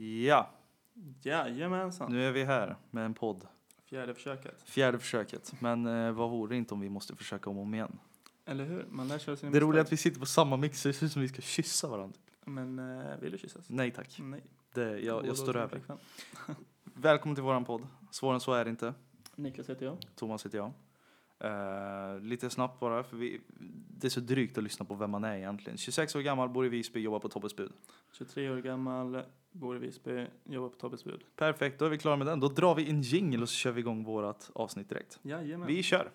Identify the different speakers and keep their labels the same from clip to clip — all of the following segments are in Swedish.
Speaker 1: Ja,
Speaker 2: Jajamensan.
Speaker 1: nu är vi här med en podd.
Speaker 2: Fjärde försöket.
Speaker 1: Fjärde försöket. Men eh, vad vore det inte om vi måste försöka om och om igen?
Speaker 2: Eller hur? Man lär sig av sina
Speaker 1: Det roliga är att
Speaker 2: misstag.
Speaker 1: vi sitter på samma mixer, det ser ut som vi ska kyssa varandra.
Speaker 2: Men eh, vill du kyssas?
Speaker 1: Nej tack,
Speaker 2: Nej.
Speaker 1: det, Mm. jag,
Speaker 2: Gå då
Speaker 1: jag står
Speaker 2: till
Speaker 1: över.
Speaker 2: flickvän.
Speaker 1: Välkommen till våran podd. Svårare än så är det inte.
Speaker 2: Niklas heter jag.
Speaker 1: Thomas heter jag. Eh, lite snabbt bara, för vi, det är så drygt att lyssna på vem man är egentligen. 26 år gammal, bor i Visby, jobbar på Tobbes bud.
Speaker 2: 23 år gammal, bor i Visby, jobbar på Tobbes bud.
Speaker 1: Perfekt, då är vi klara med den. Då drar vi en jingle och så kör vi igång vårat avsnitt direkt.
Speaker 2: Jajamän.
Speaker 1: Vi kör!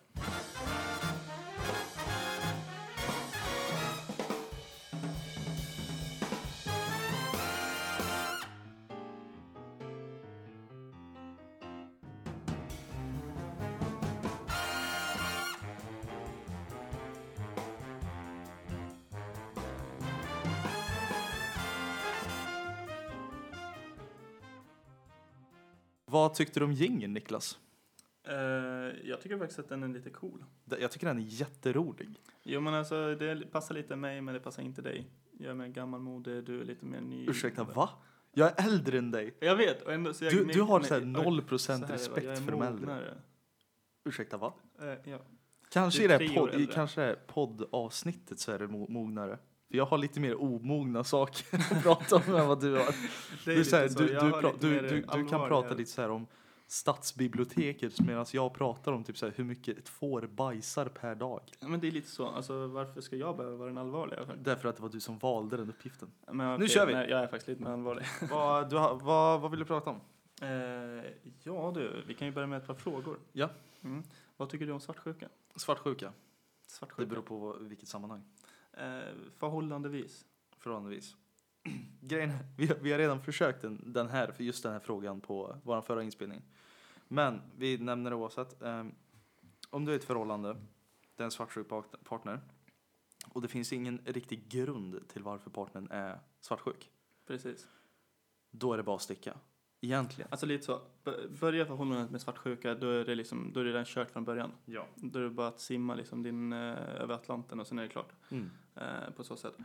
Speaker 1: Vad tyckte du om jingeln, Niklas?
Speaker 2: Eh, jag tycker faktiskt att den är lite cool.
Speaker 1: Det- Jag tycker den är jätterolig.
Speaker 2: Jo men alltså det passar lite mig men det passar inte dig. Jag är mer gammalmodig, du är lite mer ny.
Speaker 1: Ursäkta, va? Jag är äldre än dig.
Speaker 2: Jag vet och ändå så jag
Speaker 1: Du, du har
Speaker 2: nej,
Speaker 1: såhär
Speaker 2: oj,
Speaker 1: 0%
Speaker 2: så här är det, va? Jag
Speaker 1: respekt
Speaker 2: är
Speaker 1: för de äldre.
Speaker 2: mognare.
Speaker 1: Ursäkta, va?
Speaker 2: Eh, ja.
Speaker 1: Kanske
Speaker 2: Du
Speaker 1: i
Speaker 2: är
Speaker 1: det, här
Speaker 2: tre år
Speaker 1: podd, i
Speaker 2: äldre.
Speaker 1: kanske det här poddavsnittet så är det mo- mognare. För jag har lite mer omogna saker att prata om än vad du har.
Speaker 2: Det
Speaker 1: Du, är så här,
Speaker 2: lite så.
Speaker 1: du,
Speaker 2: Jag
Speaker 1: du,
Speaker 2: har
Speaker 1: pra-
Speaker 2: lite
Speaker 1: du,
Speaker 2: mer
Speaker 1: du, du kan
Speaker 2: allvar
Speaker 1: prata
Speaker 2: här.
Speaker 1: lite så här om stadsbiblioteket medan jag pratar om typ så här hur mycket ett får bajsar per dag.
Speaker 2: Ja, Men det är lite så, alltså varför ska jag behöva vara den allvarliga?
Speaker 1: Därför att det var du som valde den uppgiften.
Speaker 2: Men
Speaker 1: Nu
Speaker 2: okej,
Speaker 1: kör vi.
Speaker 2: Nej, jag är faktiskt lite mer allvarlig.
Speaker 1: vad, du, har- vad, vad vill du prata om?
Speaker 2: Eh, ja du, vi kan ju börja med ett par frågor.
Speaker 1: Ja.
Speaker 2: Mm. Vad tycker du om svartsjuka?
Speaker 1: Svartsjuka.
Speaker 2: Svartsjuka?
Speaker 1: Det beror på vad- vilket sammanhang.
Speaker 2: Eh, förhållandevis.
Speaker 1: Förhållandevis. Grejen är, vi, har- vi har redan försökt den, den här, för just den här frågan på vår förra inspelning. Men vi nämner det oavsett. Ehm, om du är i ett förhållande, det är en svartsjuk part- partner och det finns ingen riktig grund till varför partnern är svartsjuk.
Speaker 2: Precis.
Speaker 1: Då är det bara att sticka. Egentligen.
Speaker 2: Alltså lite så, B- börja förhållandet med svartsjuka, då är det liksom, då är det redan kört från början.
Speaker 1: Ja.
Speaker 2: Då är det bara att simma liksom din, eh, över Atlanten och sen är det klart.
Speaker 1: Mm.
Speaker 2: eh, på så sätt.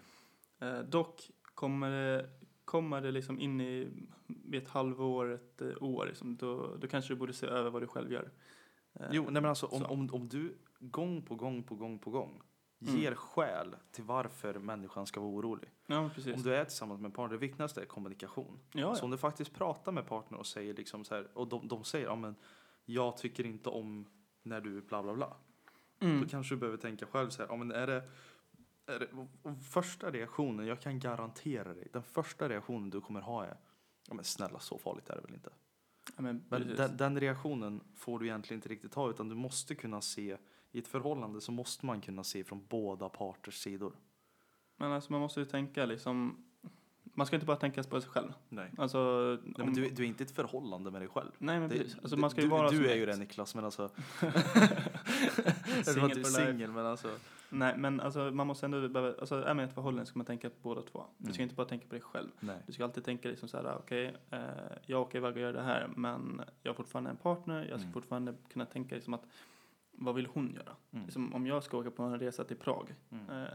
Speaker 2: Eh, dock kommer det, kommer det liksom in i vid ett halvår, ett eh, år, liksom, då, då kanske du borde se över vad du själv gör. Eh,
Speaker 1: Jo, nej men alltså om,
Speaker 2: så.
Speaker 1: om, om du gång på gång på gång på gång
Speaker 2: Mm.
Speaker 1: ger skäl till varför människan ska vara orolig.
Speaker 2: Ja, men precis.
Speaker 1: Om du är tillsammans med en partner, det viktigaste är kommunikation.
Speaker 2: ja,
Speaker 1: Så
Speaker 2: ja.
Speaker 1: om du faktiskt pratar med partner och säger liksom så här, och de, de säger ja men jag tycker inte om när du bla bla bla.
Speaker 2: Mm.
Speaker 1: Då kanske du behöver tänka själv så här, ja men är det, är det och- och första reaktionen, jag kan garantera dig, den första reaktionen du kommer ha är ja men snälla så farligt är det väl inte.
Speaker 2: ja, men,
Speaker 1: Men
Speaker 2: precis.
Speaker 1: den, den reaktionen får du egentligen inte riktigt ha utan du måste kunna se, i ett förhållande så måste man kunna se från båda parters sidor.
Speaker 2: men alltså, man måste ju tänka liksom, man ska inte bara tänka på sig själv.
Speaker 1: Nej.
Speaker 2: Alltså,
Speaker 1: Nej men du, du är inte i ett förhållande med dig själv.
Speaker 2: nej, men
Speaker 1: Det-
Speaker 2: precis. Alltså,
Speaker 1: det-
Speaker 2: man ska ju
Speaker 1: du,
Speaker 2: vara
Speaker 1: du
Speaker 2: som
Speaker 1: är
Speaker 2: ett.
Speaker 1: ju det Niklas, men alltså.
Speaker 2: Single
Speaker 1: Singel
Speaker 2: for
Speaker 1: du är
Speaker 2: life.
Speaker 1: singel, men alltså.
Speaker 2: Nej, men alltså, man måste ändå, behöva, alltså, är man i ett förhållande ska man tänka på båda två. Du ska
Speaker 1: Mm.
Speaker 2: inte bara tänka på dig själv.
Speaker 1: Nej.
Speaker 2: Du ska alltid tänka liksom så här, okej, eh, jag åker iväg och gör det här, men jag har fortfarande en partner, jag ska
Speaker 1: Mm.
Speaker 2: fortfarande kunna tänka liksom att vad vill hon göra?
Speaker 1: Mm.
Speaker 2: Liksom, om jag ska åka på en resa till Prag,
Speaker 1: Mm.
Speaker 2: eh,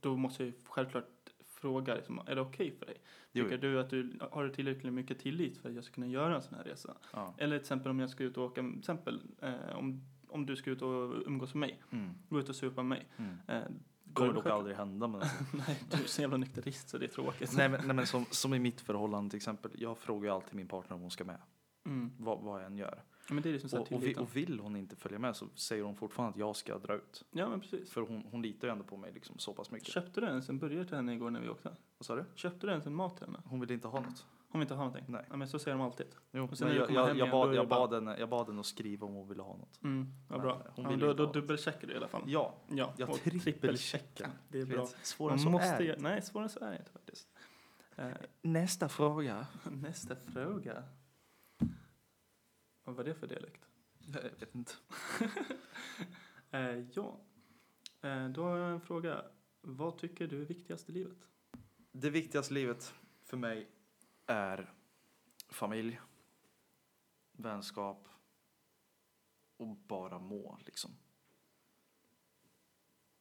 Speaker 2: då måste jag ju självklart fråga, liksom, är det okej för dig?
Speaker 1: Jo,
Speaker 2: Tycker du att du har du tillräckligt mycket tillit för att jag ska kunna göra en sån här resa?
Speaker 1: ja.
Speaker 2: Eller till exempel om jag ska ut och åka, till exempel eh, om, om du ska ut och umgås med mig,
Speaker 1: Mm.
Speaker 2: gå ut och supa med mig.
Speaker 1: Mm.
Speaker 2: Eh,
Speaker 1: Kommer
Speaker 2: då-
Speaker 1: dock aldrig hända. Men alltså.
Speaker 2: Nej, du är så jävla nykterist så det är tråkigt.
Speaker 1: nej, men, nej men som, som i mitt förhållande till exempel. Jag frågar ju alltid min partner om hon ska med.
Speaker 2: Mm.
Speaker 1: Vad, vad jag än gör.
Speaker 2: Men det är liksom så här
Speaker 1: Och, och, vi,
Speaker 2: tilliten.
Speaker 1: och vill hon inte följa med så säger hon fortfarande att jag ska dra ut.
Speaker 2: Ja, men precis.
Speaker 1: För hon, hon litar ju ändå på mig liksom så pass mycket.
Speaker 2: Köpte du ens en burgare till henne igår när vi åkte?
Speaker 1: Vad sa du?
Speaker 2: Köpte du ens en mat till henne?
Speaker 1: Hon ville inte ha något.
Speaker 2: Hon vill inte ha någonting?
Speaker 1: Nej.
Speaker 2: Ja, men så säger de alltid.
Speaker 1: Jo,
Speaker 2: Och
Speaker 1: men
Speaker 2: sen när du
Speaker 1: jag,
Speaker 2: kommer
Speaker 1: jag,
Speaker 2: hem
Speaker 1: jag,
Speaker 2: igen,
Speaker 1: bad,
Speaker 2: då är
Speaker 1: jag,
Speaker 2: det bara-
Speaker 1: bad henne, jag bad henne att skriva om hon ville ha något.
Speaker 2: Mm, vad
Speaker 1: Men,
Speaker 2: bra.
Speaker 1: hon
Speaker 2: ja,
Speaker 1: vill
Speaker 2: men då,
Speaker 1: inte
Speaker 2: då
Speaker 1: ha det.
Speaker 2: dubbelcheckar du i alla fall.
Speaker 1: Ja,
Speaker 2: Ja,
Speaker 1: jag
Speaker 2: och
Speaker 1: trippelcheckar.
Speaker 2: Det är
Speaker 1: Du
Speaker 2: bra.
Speaker 1: vet, Svårare än
Speaker 2: Man
Speaker 1: så
Speaker 2: måste
Speaker 1: är det
Speaker 2: göra- Nej, svårare än så är det inte faktiskt. Eh,
Speaker 1: Nästa fråga.
Speaker 2: nästa fråga. Vad var det för dialekt?
Speaker 1: Jag vet inte.
Speaker 2: Eh, ja, eh, då har jag en fråga. Vad tycker du är viktigast i livet?
Speaker 1: Det viktigaste i livet för mig är familj, vänskap och bara må liksom.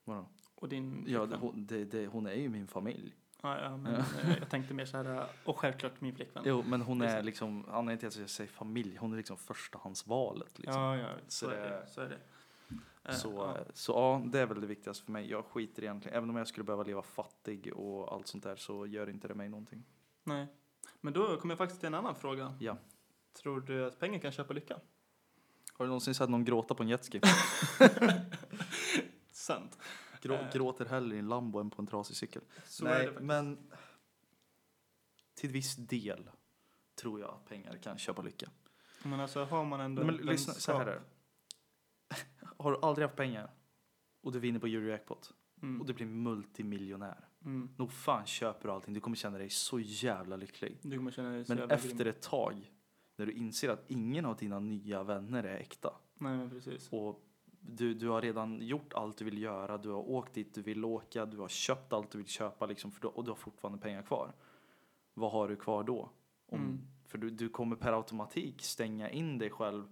Speaker 1: Vadå?
Speaker 2: Och din
Speaker 1: Ja, det,
Speaker 2: flickvän?
Speaker 1: hon, det, det, hon är ju min familj.
Speaker 2: Ja, ja, men eh, jag tänkte mer så här, och självklart min flickvän.
Speaker 1: Jo, men hon
Speaker 2: Just
Speaker 1: är
Speaker 2: det.
Speaker 1: liksom, anledningen till att jag säger familj, hon är liksom förstahandsvalet. Liksom.
Speaker 2: Ja, ja,
Speaker 1: Så
Speaker 2: så är
Speaker 1: det-
Speaker 2: det. Så är det. Eh,
Speaker 1: Så,
Speaker 2: ja.
Speaker 1: ja. så ja, det är väl det viktigaste för mig. Jag skiter egentligen, även om jag skulle behöva leva fattig och allt sånt där så gör inte det mig någonting.
Speaker 2: Nej. Men då kommer jag faktiskt till en annan fråga.
Speaker 1: Ja.
Speaker 2: Tror du att pengar kan köpa lycka?
Speaker 1: Har du någonsin sett någon gråta på en jetski?
Speaker 2: Sant.
Speaker 1: Grå,
Speaker 2: Eh.
Speaker 1: Gråter hellre i en Lambo än på en trasig cykel.
Speaker 2: Så är
Speaker 1: Nej,
Speaker 2: det faktiskt.
Speaker 1: men till viss del tror jag att pengar kan köpa lycka.
Speaker 2: Men alltså har man ändå
Speaker 1: Nej, men
Speaker 2: en
Speaker 1: lyssna, så här är det.
Speaker 2: vänskap-
Speaker 1: Har du aldrig haft pengar och du vinner på Eurojackpot
Speaker 2: Mm.
Speaker 1: och du blir multimiljonär.
Speaker 2: Mm.
Speaker 1: Nog fan köper du allting, du kommer känna dig så jävla lycklig.
Speaker 2: Du kommer känna dig så
Speaker 1: Men
Speaker 2: jävla
Speaker 1: efter
Speaker 2: grym.
Speaker 1: ett tag, när du inser att ingen av dina nya vänner är äkta
Speaker 2: Nej, men precis.
Speaker 1: och du, du har redan gjort allt du vill göra, du har åkt dit du vill åka, du har köpt allt du vill köpa liksom, för då, och du har fortfarande pengar kvar. Vad har du kvar då? Om,
Speaker 2: Mm.
Speaker 1: För du, du kommer per automatik stänga in dig själv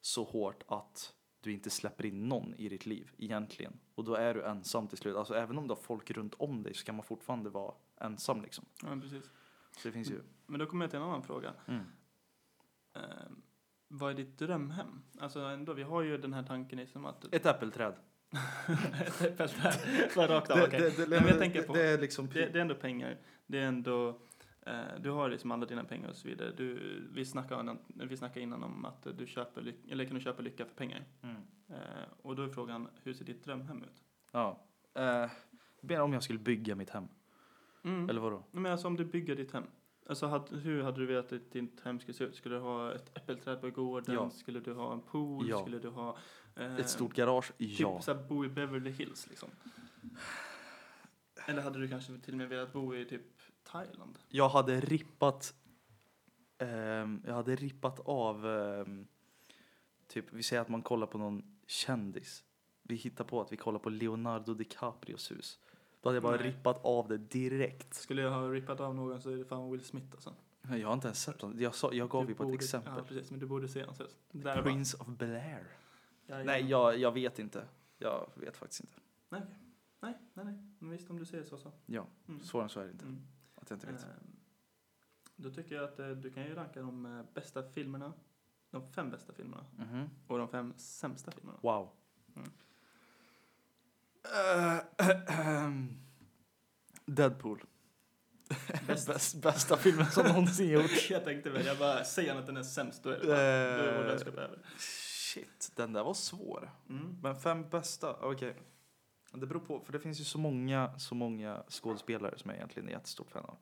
Speaker 1: så hårt att du inte släpper in någon i ditt liv egentligen. Och då är du ensam till slut. Alltså även om du har folk runt om dig så kan man fortfarande vara ensam liksom.
Speaker 2: Ja, men precis.
Speaker 1: Så det finns ju...
Speaker 2: Men då kommer jag till en annan fråga.
Speaker 1: Mm.
Speaker 2: Eh, vad är ditt drömhem? Alltså ändå, vi har ju den här tanken liksom att...
Speaker 1: Ett äppelträd.
Speaker 2: Ett äpple där. Bara rakt av, okej.
Speaker 1: det,
Speaker 2: Nej, men jag tänker
Speaker 1: det,
Speaker 2: på-
Speaker 1: det är liksom...
Speaker 2: Det, det är ändå pengar. Det är ändå... Eh, du har liksom alla dina pengar och så vidare. Du, vi, snackade innan, vi snackade innan om att du köper, lyck- eller kan du köpa lycka för pengar.
Speaker 1: Mm.
Speaker 2: Eh, och då är frågan, hur ser ditt drömhem ut?
Speaker 1: Ja. Eh, mer om jag skulle bygga mitt hem.
Speaker 2: Mm.
Speaker 1: Eller vadå?
Speaker 2: Men alltså om du bygger ditt hem. Alltså had, hur hade du velat att ditt hem skulle se ut? Skulle du ha ett äppelträd på gården?
Speaker 1: Ja.
Speaker 2: Skulle du ha en pool?
Speaker 1: Ja.
Speaker 2: Skulle du ha... eh,
Speaker 1: Ett stort garage?
Speaker 2: Typ
Speaker 1: Ja.
Speaker 2: såhär bo i Beverly Hills liksom. Eller hade du kanske till och med velat bo i typ Thailand?
Speaker 1: Jag hade rippat... ehm, jag hade rippat av... ehm, typ, vi säger att man kollar på någon kändis. Vi hittar på att vi kollar på Leonardo DiCaprios hus. Då hade jag bara
Speaker 2: Nej.
Speaker 1: rippat av det direkt.
Speaker 2: Skulle jag ha rippat av någon så är det fan Will Smith alltså.
Speaker 1: Men Jag har inte ens sett honom. Jag, sa, jag gav
Speaker 2: Du
Speaker 1: ju på ett
Speaker 2: borde- Ja
Speaker 1: exempel.
Speaker 2: precis, men du borde se hans hus. Där bara,
Speaker 1: Prince of Bel-Air.
Speaker 2: där är
Speaker 1: Nej,
Speaker 2: han.
Speaker 1: jag, jag vet inte. Jag vet faktiskt inte.
Speaker 2: Nej, okej. nej, nej, nej. Men visst om du säger så så.
Speaker 1: Ja,
Speaker 2: Mm.
Speaker 1: svårare än så är det inte.
Speaker 2: Mm.
Speaker 1: Att jag inte vet.
Speaker 2: Ehm, Då tycker jag att eh, du kan ju ranka de eh, bästa filmerna. De fem bästa filmerna.
Speaker 1: Mhm.
Speaker 2: Och de fem sämsta filmerna.
Speaker 1: Wow.
Speaker 2: Mm.
Speaker 1: Eh, Deadpool.
Speaker 2: Bäst.
Speaker 1: Bäst, bästa filmen som någonsin gjorts.
Speaker 2: jag tänkte väl, jag bara, säger han att den är sämst då är det bara, då är vår
Speaker 1: Eh,
Speaker 2: vänskap över.
Speaker 1: Shit, den där var svår.
Speaker 2: Mm.
Speaker 1: Men fem bästa, okej. Det beror på, för det finns ju så många, så många skådespelare som jag egentligen är jättestort fan av.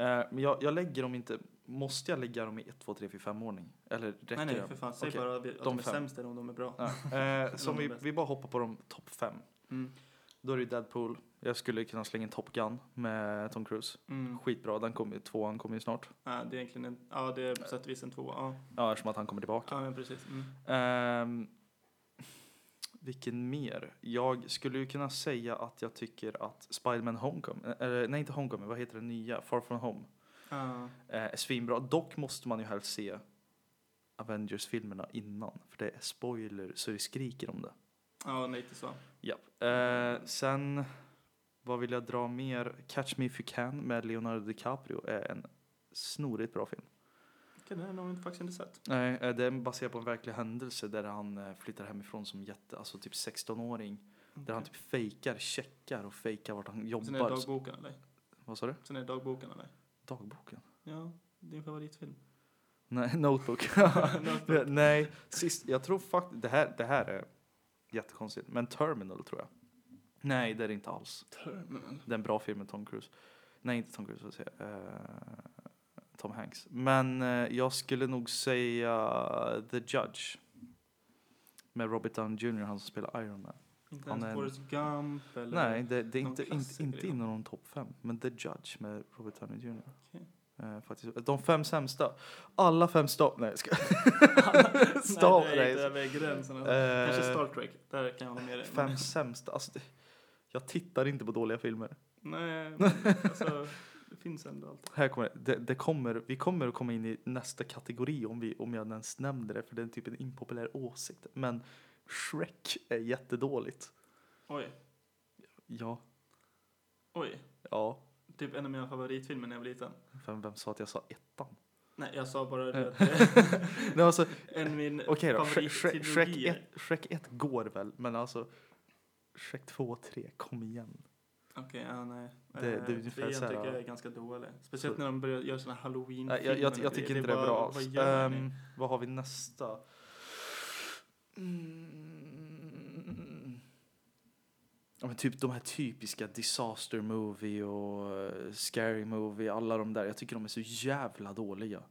Speaker 1: Eh, Men jag, jag lägger dem inte, måste jag lägga dem i 1, 2, 3, 4, 5 ordning? Eller räcker
Speaker 2: Nej, nej,
Speaker 1: det?
Speaker 2: för fan. Säg
Speaker 1: Okej,
Speaker 2: bara att de är
Speaker 1: de fem.
Speaker 2: sämst eller om de är bra.
Speaker 1: Ja. Eh, Som
Speaker 2: de
Speaker 1: vi,
Speaker 2: bästa.
Speaker 1: vi bara hoppar på de topp fem.
Speaker 2: Mm.
Speaker 1: Då är det ju Deadpool. Jag skulle kunna slänga in Top Gun med Tom Cruise.
Speaker 2: Mm.
Speaker 1: Skitbra, den kommer ju, tvåan kommer ju snart.
Speaker 2: Ja, det är egentligen en, ja, det är på sätt och vis en tvåa. Ja,
Speaker 1: Ja, eftersom att han kommer tillbaka.
Speaker 2: ja men precis. Mm.
Speaker 1: Ehm, vilken mer? Jag skulle ju kunna säga att jag tycker att Spiderman Homecoming, eh, eller nej inte Homecoming, vad heter den nya? Far From Home.
Speaker 2: Ja.
Speaker 1: Eh, är svinbra. Dock måste man ju helst se Avengers-filmerna innan, för det är spoiler så det skriker om det.
Speaker 2: ja, nej, inte så.
Speaker 1: Japp. Eh, sen, vad vill jag dra mer? Catch Me If You Can med Leonardo DiCaprio är en snorigt bra film.
Speaker 2: Okej, den har jag nog faktiskt inte sett.
Speaker 1: Nej, eh, det är baserat på en verklig händelse där han eh, flyttar hemifrån som jätte, alltså typ 16-åring. Där han typ fejkar checkar och fejkar vart han
Speaker 2: Sen är det
Speaker 1: jobbar. Så-
Speaker 2: dagboken eller?
Speaker 1: Vad sa du?
Speaker 2: Sen är det dagboken eller?
Speaker 1: Dagboken?
Speaker 2: Ja, din favoritfilm.
Speaker 1: Nej, notebook.
Speaker 2: Notebook.
Speaker 1: Nej, sist, jag tror faktiskt, det här, det här är jättekonstigt, men Terminal tror jag. Nej, det är det inte alls.
Speaker 2: Terminal.
Speaker 1: Det är en bra film med Tom Cruise. Nej, inte Tom Cruise, vad säger jag? Eh, Tom Hanks. Men eh, jag skulle nog säga The Judge. Med Robert Downey Jr, han som spelar Iron Man.
Speaker 2: Inte
Speaker 1: Han
Speaker 2: ens
Speaker 1: är en-
Speaker 2: Forrest Gump eller?
Speaker 1: Nej, det, det är
Speaker 2: någon
Speaker 1: inte, inte,
Speaker 2: klassiker
Speaker 1: inte
Speaker 2: inom-
Speaker 1: inom de topp fem. Men The Judge med Robert Downey Jr.
Speaker 2: Okej.
Speaker 1: Eh, faktiskt. De fem sämsta. Alla fem stopp. Nej, jag ska.
Speaker 2: Stav,
Speaker 1: Stav-
Speaker 2: nej, det är
Speaker 1: nej, jag
Speaker 2: inte över gränsen. Alltså.
Speaker 1: Eh,
Speaker 2: Kanske Star Trek, där kan jag hålla med dig.
Speaker 1: Fem sämsta. Alltså, det, jag tittar inte på dåliga filmer.
Speaker 2: Nej, men alltså, det finns ändå alltid.
Speaker 1: Här kommer, det, det kommer, vi kommer att komma in i nästa kategori om, vi, om jag ens nämnde det, för det är typ en impopulär åsikt. Men Shrek är jättedåligt.
Speaker 2: Oj,
Speaker 1: Ja,
Speaker 2: oj.
Speaker 1: ja.
Speaker 2: typ en av mina favoritfilmer när jag var liten.
Speaker 1: Vem, vem sa att jag sa ettan?
Speaker 2: Nej, jag sa bara
Speaker 1: Eh.
Speaker 2: det att
Speaker 1: Nej, alltså,
Speaker 2: en av min
Speaker 1: Okej då, Shre- Shre- Shrek
Speaker 2: favorittrilogier.
Speaker 1: 1, Shrek 1 går väl, men alltså Shrek 2 och 3, kom igen.
Speaker 2: Okej, ja nej.
Speaker 1: Det- det är
Speaker 2: Eh,
Speaker 1: ungefär
Speaker 2: Trean
Speaker 1: så här,
Speaker 2: tycker jag
Speaker 1: ja.
Speaker 2: är ganska dålig. Speciellt
Speaker 1: Så-
Speaker 2: när de börjar göra såna halloween
Speaker 1: Nej, jag, jag, jag tycker inte det är bra.
Speaker 2: Vad
Speaker 1: alls.
Speaker 2: gör ni?
Speaker 1: Ehm, vad har vi nästa? Mm. Ja, men typ de här typiska disaster movie och eh, scary movie, alla de där. Jag tycker de är så jävla dåliga.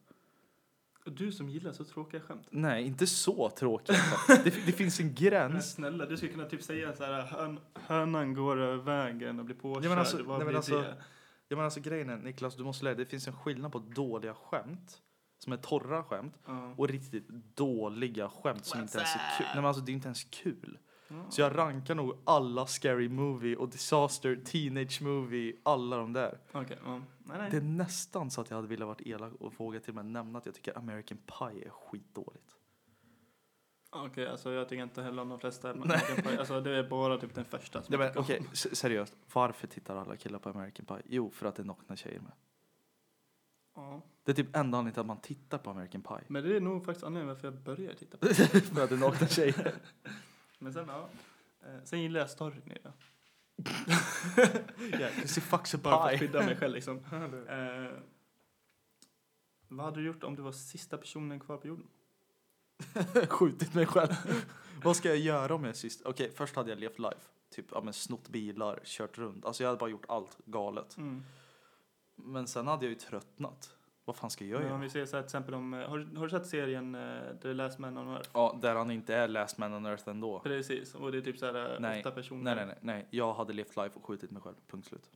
Speaker 2: Och du som gillar så tråkiga skämt.
Speaker 1: Nej, inte så tråkiga. fan. det, det finns en
Speaker 2: Men
Speaker 1: gräns.
Speaker 2: Äh, snälla, du skulle kunna typ säga så här, hön, hönan går över vägen och blir påkörd.
Speaker 1: Ja, men alltså-
Speaker 2: Vad
Speaker 1: nej, men
Speaker 2: blir
Speaker 1: alltså-
Speaker 2: det?
Speaker 1: Ja, men alltså grejen är, Niklas, du måste lära dig. Det finns en skillnad på dåliga skämt, som är torra skämt,
Speaker 2: Ja.
Speaker 1: och riktigt dåliga skämt som inte ens är kul. Nej, men alltså, det är inte ens kul.
Speaker 2: Ja.
Speaker 1: Så jag rankar nog alla Scary Movie och Disaster, Teenage Movie, alla de där.
Speaker 2: Okej, ja. Nej, nej.
Speaker 1: Det är nästan så att jag hade velat varit elak och våga till och med nämna att jag tycker American Pie är skitdåligt.
Speaker 2: Okej, alltså jag tycker inte heller om de flesta. Men alltså, det är bara typ den första som
Speaker 1: Nej, men
Speaker 2: jag tycker om.
Speaker 1: okej, se- seriöst. Varför tittar alla killar på American Pie? Jo, för att det är nakna tjejer med.
Speaker 2: Ja.
Speaker 1: Det är typ enda anledningen till att man tittar på American Pie.
Speaker 2: Men det är nog faktiskt anledningen varför jag började titta på det.
Speaker 1: för att det är nakna tjejer.
Speaker 2: Men sen, ja. Eh, Sen gillar jag storyn i det.
Speaker 1: Yeah, cause it fucks a
Speaker 2: Bara för att
Speaker 1: pie.
Speaker 2: skydda mig själv liksom. Eh, vad hade du gjort om du var sista personen kvar på jorden?
Speaker 1: Skjutit mig själv. Vad ska jag göra om jag är sist? Okej, först hade jag levt life. Typ, ja men snott bilar, kört runt. Alltså jag hade bara gjort allt galet. Men sen hade jag ju tröttnat. Vad fan ska jag
Speaker 2: Men om
Speaker 1: göra?
Speaker 2: vi ser så här, till exempel om, eh, har, du- har du sett serien eh, The Last Man on Earth?
Speaker 1: Ja, där han inte är last man on earth ändå.
Speaker 2: Precis, och det är typ så här eh,
Speaker 1: Nej.
Speaker 2: åtta
Speaker 1: Nej,
Speaker 2: personer.
Speaker 1: nej, nej, nej. Jag hade levt life och skjutit mig själv. Punkt slut.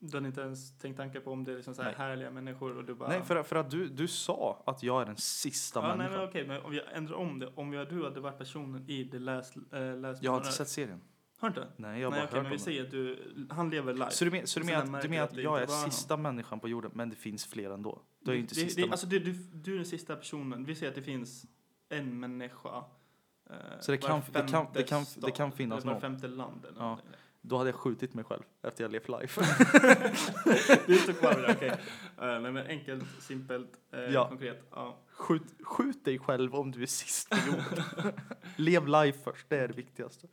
Speaker 2: Du har inte ens tänkt tanke på om det är liksom så här
Speaker 1: Nej.
Speaker 2: härliga människor och du bara...
Speaker 1: Nej, för, att- för att du, du sa att jag är den sista
Speaker 2: ja, nej,
Speaker 1: människan.
Speaker 2: men okej, men om jag ändrar om det. Om jag, du hade varit personen i The Last, eh, last
Speaker 1: jag har inte
Speaker 2: Man on
Speaker 1: sett
Speaker 2: Earth.
Speaker 1: serien.
Speaker 2: Har du inte?
Speaker 1: Nej, jag har
Speaker 2: nej,
Speaker 1: bara
Speaker 2: okej,
Speaker 1: hört
Speaker 2: men vi
Speaker 1: om den.
Speaker 2: säger att du, han lever live.
Speaker 1: Så du, men, så du
Speaker 2: Sen
Speaker 1: menar
Speaker 2: jag
Speaker 1: att,
Speaker 2: märker
Speaker 1: du menar
Speaker 2: att
Speaker 1: att
Speaker 2: det
Speaker 1: jag
Speaker 2: inte
Speaker 1: är
Speaker 2: var han.
Speaker 1: sista människan på jorden, men det finns fler ändå? Du är ju inte
Speaker 2: det,
Speaker 1: sista.
Speaker 2: det, alltså, du, du, du är den sista personen. Vi säger att det finns en människa. eh,
Speaker 1: Så det
Speaker 2: var
Speaker 1: kan- det kan- det
Speaker 2: femte
Speaker 1: kan- det
Speaker 2: stad,
Speaker 1: kan finnas
Speaker 2: eller
Speaker 1: någon.
Speaker 2: Var femte land eller
Speaker 1: Ja.
Speaker 2: ja.
Speaker 1: Då hade jag skjutit mig själv efter jag levt life.
Speaker 2: Du är inte kvar med det, okej. Eh, nej, men enkelt, simpelt, eh,
Speaker 1: Ja.
Speaker 2: konkret. Ja.
Speaker 1: Skjut, skjut dig själv om du är sist på jorden. Lev life först, det är det viktigaste.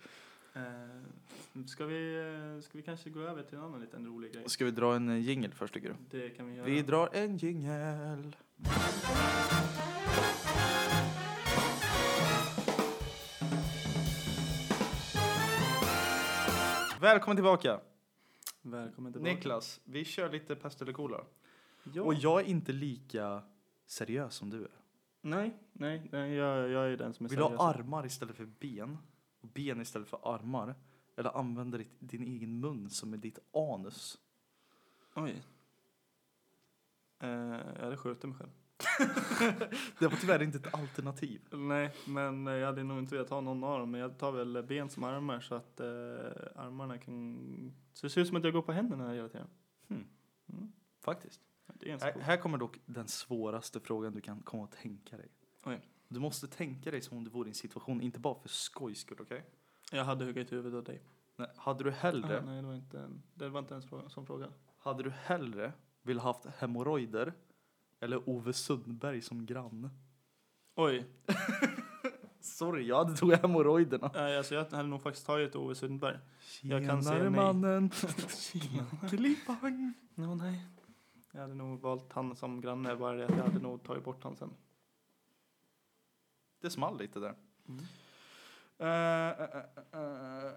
Speaker 2: Eh, ska, vi, eh, ska vi kanske gå över till en annan liten rolig grej?
Speaker 1: Ska vi dra en eh, jingel först tycker du?
Speaker 2: Det kan vi göra.
Speaker 1: Vi drar en jingel. Välkommen tillbaka.
Speaker 2: Välkommen tillbaka.
Speaker 1: Niklas, vi kör lite pest eller kolera.
Speaker 2: Ja.
Speaker 1: Och jag är inte lika seriös som du är.
Speaker 2: Nej, nej, nej jag, jag är den som är
Speaker 1: Vill du
Speaker 2: seriös.
Speaker 1: ha armar istället för ben? Och ben istället för armar? Eller använda ditt, din egen mun som är ditt anus?
Speaker 2: Oj. Eh, jag hade skjutit mig själv.
Speaker 1: Det var tyvärr inte ett alternativ.
Speaker 2: Nej, men eh, jag hade nog inte velat ha någon av dem. Men jag tar väl ben som armar så att eh, armarna kan... Så det ser ut som att jag går på händerna hela tiden.
Speaker 1: Hmm.
Speaker 2: Mm.
Speaker 1: Faktiskt.
Speaker 2: Det är ganska
Speaker 1: Här,
Speaker 2: coolt.
Speaker 1: här kommer dock den svåraste frågan du kan komma att tänka dig.
Speaker 2: Oj.
Speaker 1: Du måste tänka dig som om du vore i en situation, inte bara för skojs skull, okej?
Speaker 2: Jag hade huggit huvudet av dig.
Speaker 1: Nej, Hade du hellre,
Speaker 2: Ah, nej, det var inte, en, det var inte ens fråga, som fråga.
Speaker 1: hade du hellre vill haft hemorrojder eller Ove Sundberg som granne?
Speaker 2: Oj,
Speaker 1: Sorry, jag hade tog hemorrojderna.
Speaker 2: nej, alltså jag hade nog faktiskt tagit Ove Sundberg. Jag kan
Speaker 1: Tjenare,
Speaker 2: se mig.
Speaker 1: mannen.
Speaker 2: Tjena.
Speaker 1: Klippang.
Speaker 2: No, nej. Jag hade nog valt han som granne, bara det att jag hade nog tagit bort han sen.
Speaker 1: Det small lite där.
Speaker 2: Mm.
Speaker 1: Eh, eh, eh, eh.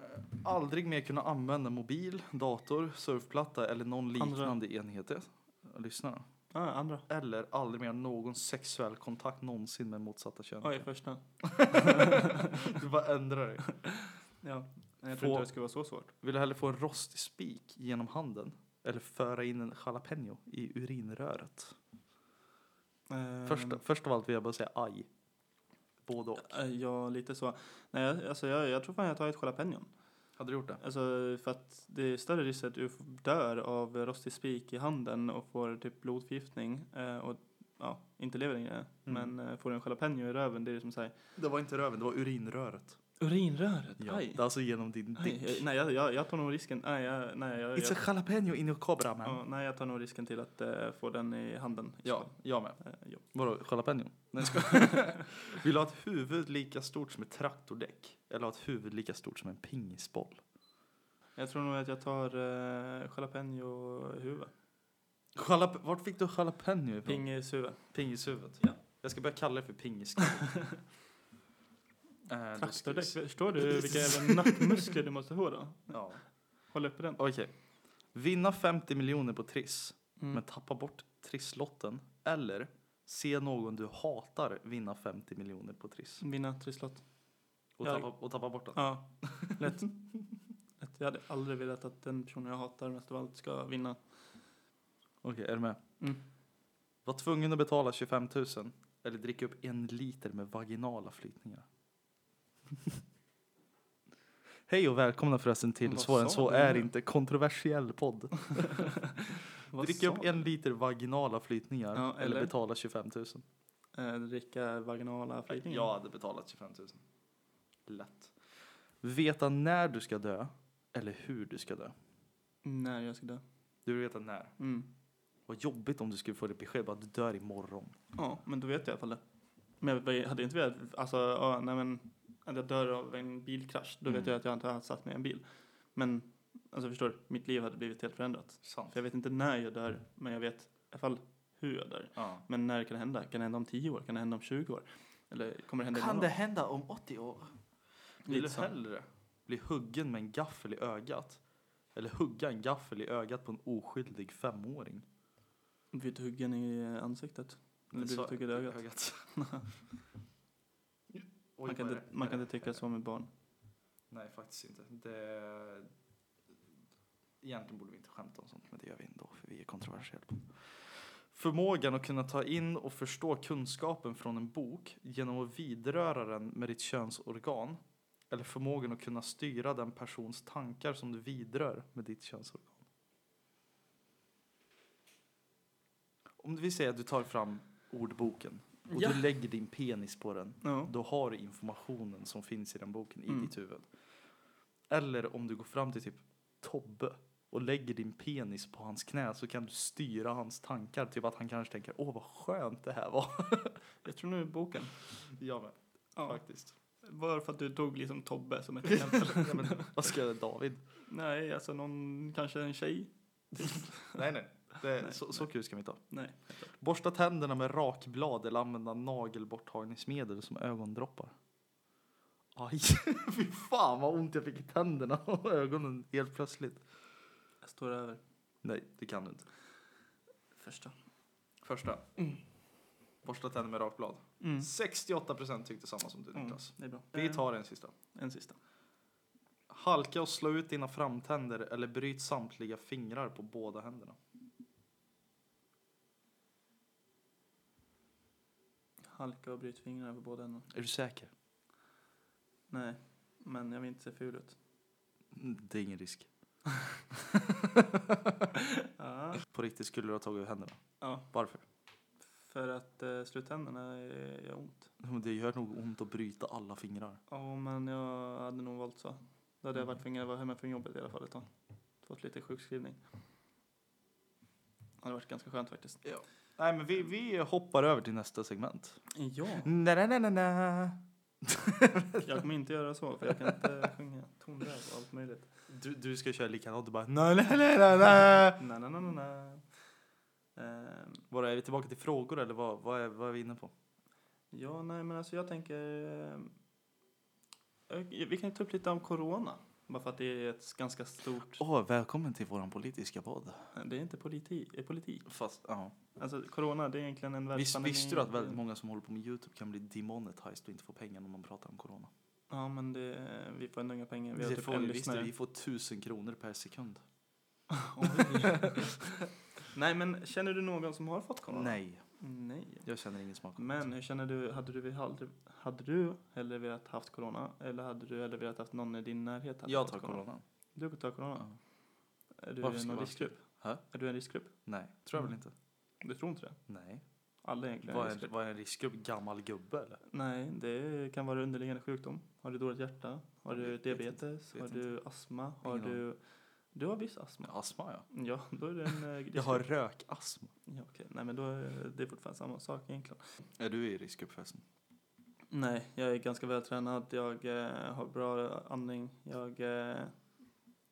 Speaker 1: aldrig mer kunna använda mobil, dator, surfplatta eller någon
Speaker 2: Andra.
Speaker 1: liknande enhet. Ja, Lyssna då.
Speaker 2: Ah, andra.
Speaker 1: Eller aldrig mer någon sexuell kontakt någonsin med motsatta könet.
Speaker 2: Oj, första.
Speaker 1: du bara ändrar dig.
Speaker 2: Ja. Nej, Jag
Speaker 1: Få-
Speaker 2: trodde inte det skulle vara så svårt.
Speaker 1: Vill du hellre få en rostig spik genom handen? Eller föra in en jalapeno i urinröret? Först,
Speaker 2: Ehm,
Speaker 1: först av allt vill jag bara säga aj. Både och.
Speaker 2: Eh, Ja, lite så. Nej, jag- alltså jag, jag tror fan jag tar ett jalapenon.
Speaker 1: Hade du gjort det?
Speaker 2: Alltså för att det är större risk att du f- dör av rostig spik i handen och får typ blodförgiftning eh, och ja, inte lever längre.
Speaker 1: Mm.
Speaker 2: Men eh, får du en jalapeno i röven, det är som säger
Speaker 1: Det var inte röven, det var urinröret.
Speaker 2: Urinröret? Aj.
Speaker 1: Det är alltså genom din
Speaker 2: Aj,
Speaker 1: dick.
Speaker 2: jag- nej, jag, jag, jag tar nog risken. Nej, jag, nej, jag,
Speaker 1: It's a
Speaker 2: jag,
Speaker 1: jalapeno in your cobra man.
Speaker 2: ja, nej, jag tar nog risken till att eh, få den i handen.
Speaker 1: Ja, jag med.
Speaker 2: Eh, ja.
Speaker 1: Vadå, jalapeno? Nej, ska. Vill du ha ett huvud lika stort som ett traktordäck? Eller ha ett huvud lika stort som en pingisboll?
Speaker 2: Jag tror nog att jag tar eh, jalapeno-huvud.
Speaker 1: Jalap- Vart fick du jalapeno ifrån?
Speaker 2: Pingishuvud.
Speaker 1: Pingishuvud.
Speaker 2: Ja.
Speaker 1: Jag ska börja kalla det för pingiskalle. eh, då ska vi
Speaker 2: Traktordäck.
Speaker 1: se.
Speaker 2: Förstår du vilka jävla nackmuskler du måste få då?
Speaker 1: Ja.
Speaker 2: Håll uppe den.
Speaker 1: Okej. Vinna 50 miljoner på Triss,
Speaker 2: Mm.
Speaker 1: men tappa bort Trisslotten. Eller se någon du hatar vinna 50 miljoner på Triss.
Speaker 2: Vinna trisslott.
Speaker 1: Och,
Speaker 2: Jag-
Speaker 1: tappa, och tappa bort den.
Speaker 2: Ja, lätt. lätt. Jag hade aldrig velat att den personen jag hatar mest av allt ska vinna.
Speaker 1: Okej, är du med?
Speaker 2: Mm.
Speaker 1: Var tvungen att betala 25 000 eller dricka upp en liter med vaginala flytningar. Hej och välkomna förresten till
Speaker 2: Vad
Speaker 1: Svårare än
Speaker 2: sa
Speaker 1: så
Speaker 2: du
Speaker 1: är
Speaker 2: nu?
Speaker 1: inte kontroversiell podd.
Speaker 2: Vad
Speaker 1: Dricka upp
Speaker 2: sa
Speaker 1: en liter vaginala flytningar
Speaker 2: Ja,
Speaker 1: eller?
Speaker 2: eller?
Speaker 1: betala 25 000.
Speaker 2: Eh, dricka vaginala flytningar.
Speaker 1: Jag hade betalat 25 000. Lätt. Veta när du ska dö eller hur du ska dö.
Speaker 2: När jag ska dö.
Speaker 1: Du vill veta när.
Speaker 2: Mm.
Speaker 1: Vad jobbigt om du skulle få det besked att du dör imorgon.
Speaker 2: Ja, men då vet jag i alla fall det. Men jag hade inte velat, alltså, ja, nej men, att jag dör av en bilkrasch, då vet
Speaker 1: Mm.
Speaker 2: jag att jag inte har satt mig i en bil. Men, alltså förstår du, mitt liv hade blivit helt förändrat.
Speaker 1: Sant.
Speaker 2: För jag vet inte när jag dör, men jag vet i alla fall hur jag dör.
Speaker 1: Ja.
Speaker 2: Men när kan det hända? Kan det hända om 10 år? Kan det hända om 20 år? Eller kommer det hända
Speaker 1: Kan
Speaker 2: imorgon?
Speaker 1: det hända om 80 år? Vill
Speaker 2: Lite
Speaker 1: du
Speaker 2: så.
Speaker 1: hellre bli huggen med en gaffel i ögat? Eller hugga en gaffel i ögat på en oskyldig femåring?
Speaker 2: Blir du huggen i ansiktet? Eller blir
Speaker 1: Så-
Speaker 2: du huggen i ögat?
Speaker 1: Oj,
Speaker 2: man kan,
Speaker 1: vad är
Speaker 2: inte,
Speaker 1: det?
Speaker 2: man kan
Speaker 1: Är
Speaker 2: inte
Speaker 1: det- är
Speaker 2: tycka
Speaker 1: det-
Speaker 2: så med barn.
Speaker 1: Nej, faktiskt inte. Det... Egentligen borde vi inte skämta om sånt, men det gör vi ändå, för vi är kontroversiella. Förmågan att kunna ta in och förstå kunskapen från en bok genom att vidröra den med ditt könsorgan. Eller förmågan att kunna styra den persons tankar som du vidrör med ditt könsorgan. Om vi säger att du tar fram ordboken och
Speaker 2: Ja.
Speaker 1: du lägger din penis på den
Speaker 2: Ja.
Speaker 1: då har du informationen som finns i den boken i
Speaker 2: Mm.
Speaker 1: ditt huvud. Eller om du går fram till typ Tobbe och lägger din penis på hans knä så kan du styra hans tankar. Typ att han kanske tänker, åh vad skönt det här var.
Speaker 2: Jag tror nu boken.
Speaker 1: Jag med,
Speaker 2: Ja.
Speaker 1: faktiskt.
Speaker 2: Bara för att du tog liksom Tobbe som ett exempel.
Speaker 1: ja, men, vad ska jag David?
Speaker 2: Nej, alltså någon, kanske en tjej.
Speaker 1: Nej, nej. Det,
Speaker 2: Nej,
Speaker 1: så, så kul ska vi inte ha.
Speaker 2: Nej.
Speaker 1: Borsta tänderna med rakblad eller använda nagelborttagningsmedel som ögondroppar. Aj, fy fan vad ont jag fick i tänderna och ögonen helt plötsligt.
Speaker 2: Jag står över
Speaker 1: Nej, det kan du inte.
Speaker 2: första.
Speaker 1: Första. Borsta tänder med rakblad.
Speaker 2: Mm.
Speaker 1: 68% tyckte samma som du
Speaker 2: Mm.
Speaker 1: Niklas.
Speaker 2: Det är bra.
Speaker 1: Vi tar en sista.
Speaker 2: en sista.
Speaker 1: Halka och slå ut dina framtänder eller bryt samtliga fingrar på båda händerna.
Speaker 2: Halka och bryt fingrar på båda händerna.
Speaker 1: Är du säker?
Speaker 2: Nej, men jag vill inte se ful ut.
Speaker 1: Det är ingen risk.
Speaker 2: Ja.
Speaker 1: På riktigt skulle du ha tagit ut händerna.
Speaker 2: ja.
Speaker 1: Varför?
Speaker 2: För att eh, sluttänderna eh, gör ont.
Speaker 1: Men Det gör nog ont att bryta alla fingrar.
Speaker 2: Ja, men jag hade nog valt så. Då hade jag
Speaker 1: Mm.
Speaker 2: varit tvingad att vara hemma från jobbet i alla fall ett tag. Fått lite sjukskrivning. Det hade varit ganska skönt faktiskt.
Speaker 1: Nej, men vi, vi hoppar över till nästa segment.
Speaker 2: Ja.
Speaker 1: Na, na, na, na, na.
Speaker 2: Jag kommer inte göra så, för jag kan inte sjunga tonläge och allt möjligt.
Speaker 1: Du, du ska köra likadant. Du bara... Na, na, na, na, na.
Speaker 2: Na, na, na, na, na. Ehm,
Speaker 1: Vadå, är vi tillbaka till frågor eller vad, vad, är, vad är vi inne på?
Speaker 2: ja, nej, men alltså jag tänker... ehm, jag- vi kan ju ta upp lite om corona. Bara för att det är ett ganska stort...
Speaker 1: Åh, välkommen till våran politiska podd.
Speaker 2: Det är inte politi, det är politik.
Speaker 1: Fast, ja.
Speaker 2: Alltså corona, det är egentligen en
Speaker 1: Visst
Speaker 2: världspandemi.
Speaker 1: visste du att väldigt många som håller på med Youtube kan bli demonetized och inte få pengar när man pratar om corona?
Speaker 2: Ja, men det, vi får ändå inga pengar. Vi har
Speaker 1: det
Speaker 2: typ
Speaker 1: får
Speaker 2: en
Speaker 1: vi, visst,
Speaker 2: lyssnare.
Speaker 1: vi får tusen kronor per sekund.
Speaker 2: Oj. nej, men känner du någon som har fått corona?
Speaker 1: Nej,
Speaker 2: Nej.
Speaker 1: jag känner ingen smak.
Speaker 2: Men hur känner du, hade du, hade, hade du hellre velat haft corona eller hade du hellre velat haft någon i din närhet? hade
Speaker 1: jag
Speaker 2: haft
Speaker 1: tar corona.
Speaker 2: Du tar corona? Är du
Speaker 1: Varför ska
Speaker 2: någon
Speaker 1: jag-
Speaker 2: riskgrupp?
Speaker 1: Hä?
Speaker 2: Är du en riskgrupp?
Speaker 1: Nej, tror jag väl
Speaker 2: Mm.
Speaker 1: inte.
Speaker 2: Du tror inte det?
Speaker 1: Nej.
Speaker 2: alla egentligen.
Speaker 1: Vad är,
Speaker 2: riskgrupp.
Speaker 1: vad är en riskgrupp? Gammal gubbe eller?
Speaker 2: Nej, det kan vara underliggande sjukdom. Har du dåligt hjärta? Har
Speaker 1: Jag
Speaker 2: du
Speaker 1: vet inte,
Speaker 2: diabetes?
Speaker 1: vet
Speaker 2: Har
Speaker 1: inte.
Speaker 2: du astma? Har
Speaker 1: Ingen
Speaker 2: du... Du har viss astma.
Speaker 1: Astma ja.
Speaker 2: Ja, då är det en eh,
Speaker 1: Jag har
Speaker 2: riskgrupp.
Speaker 1: rökastma.
Speaker 2: Ja, okej. Nej, men då är det fortfarande samma sak egentligen.
Speaker 1: Är du i riskgrupp förresten?
Speaker 2: Nej, jag är ganska vältränad. Jag eh, har bra andning. Jag... Eh,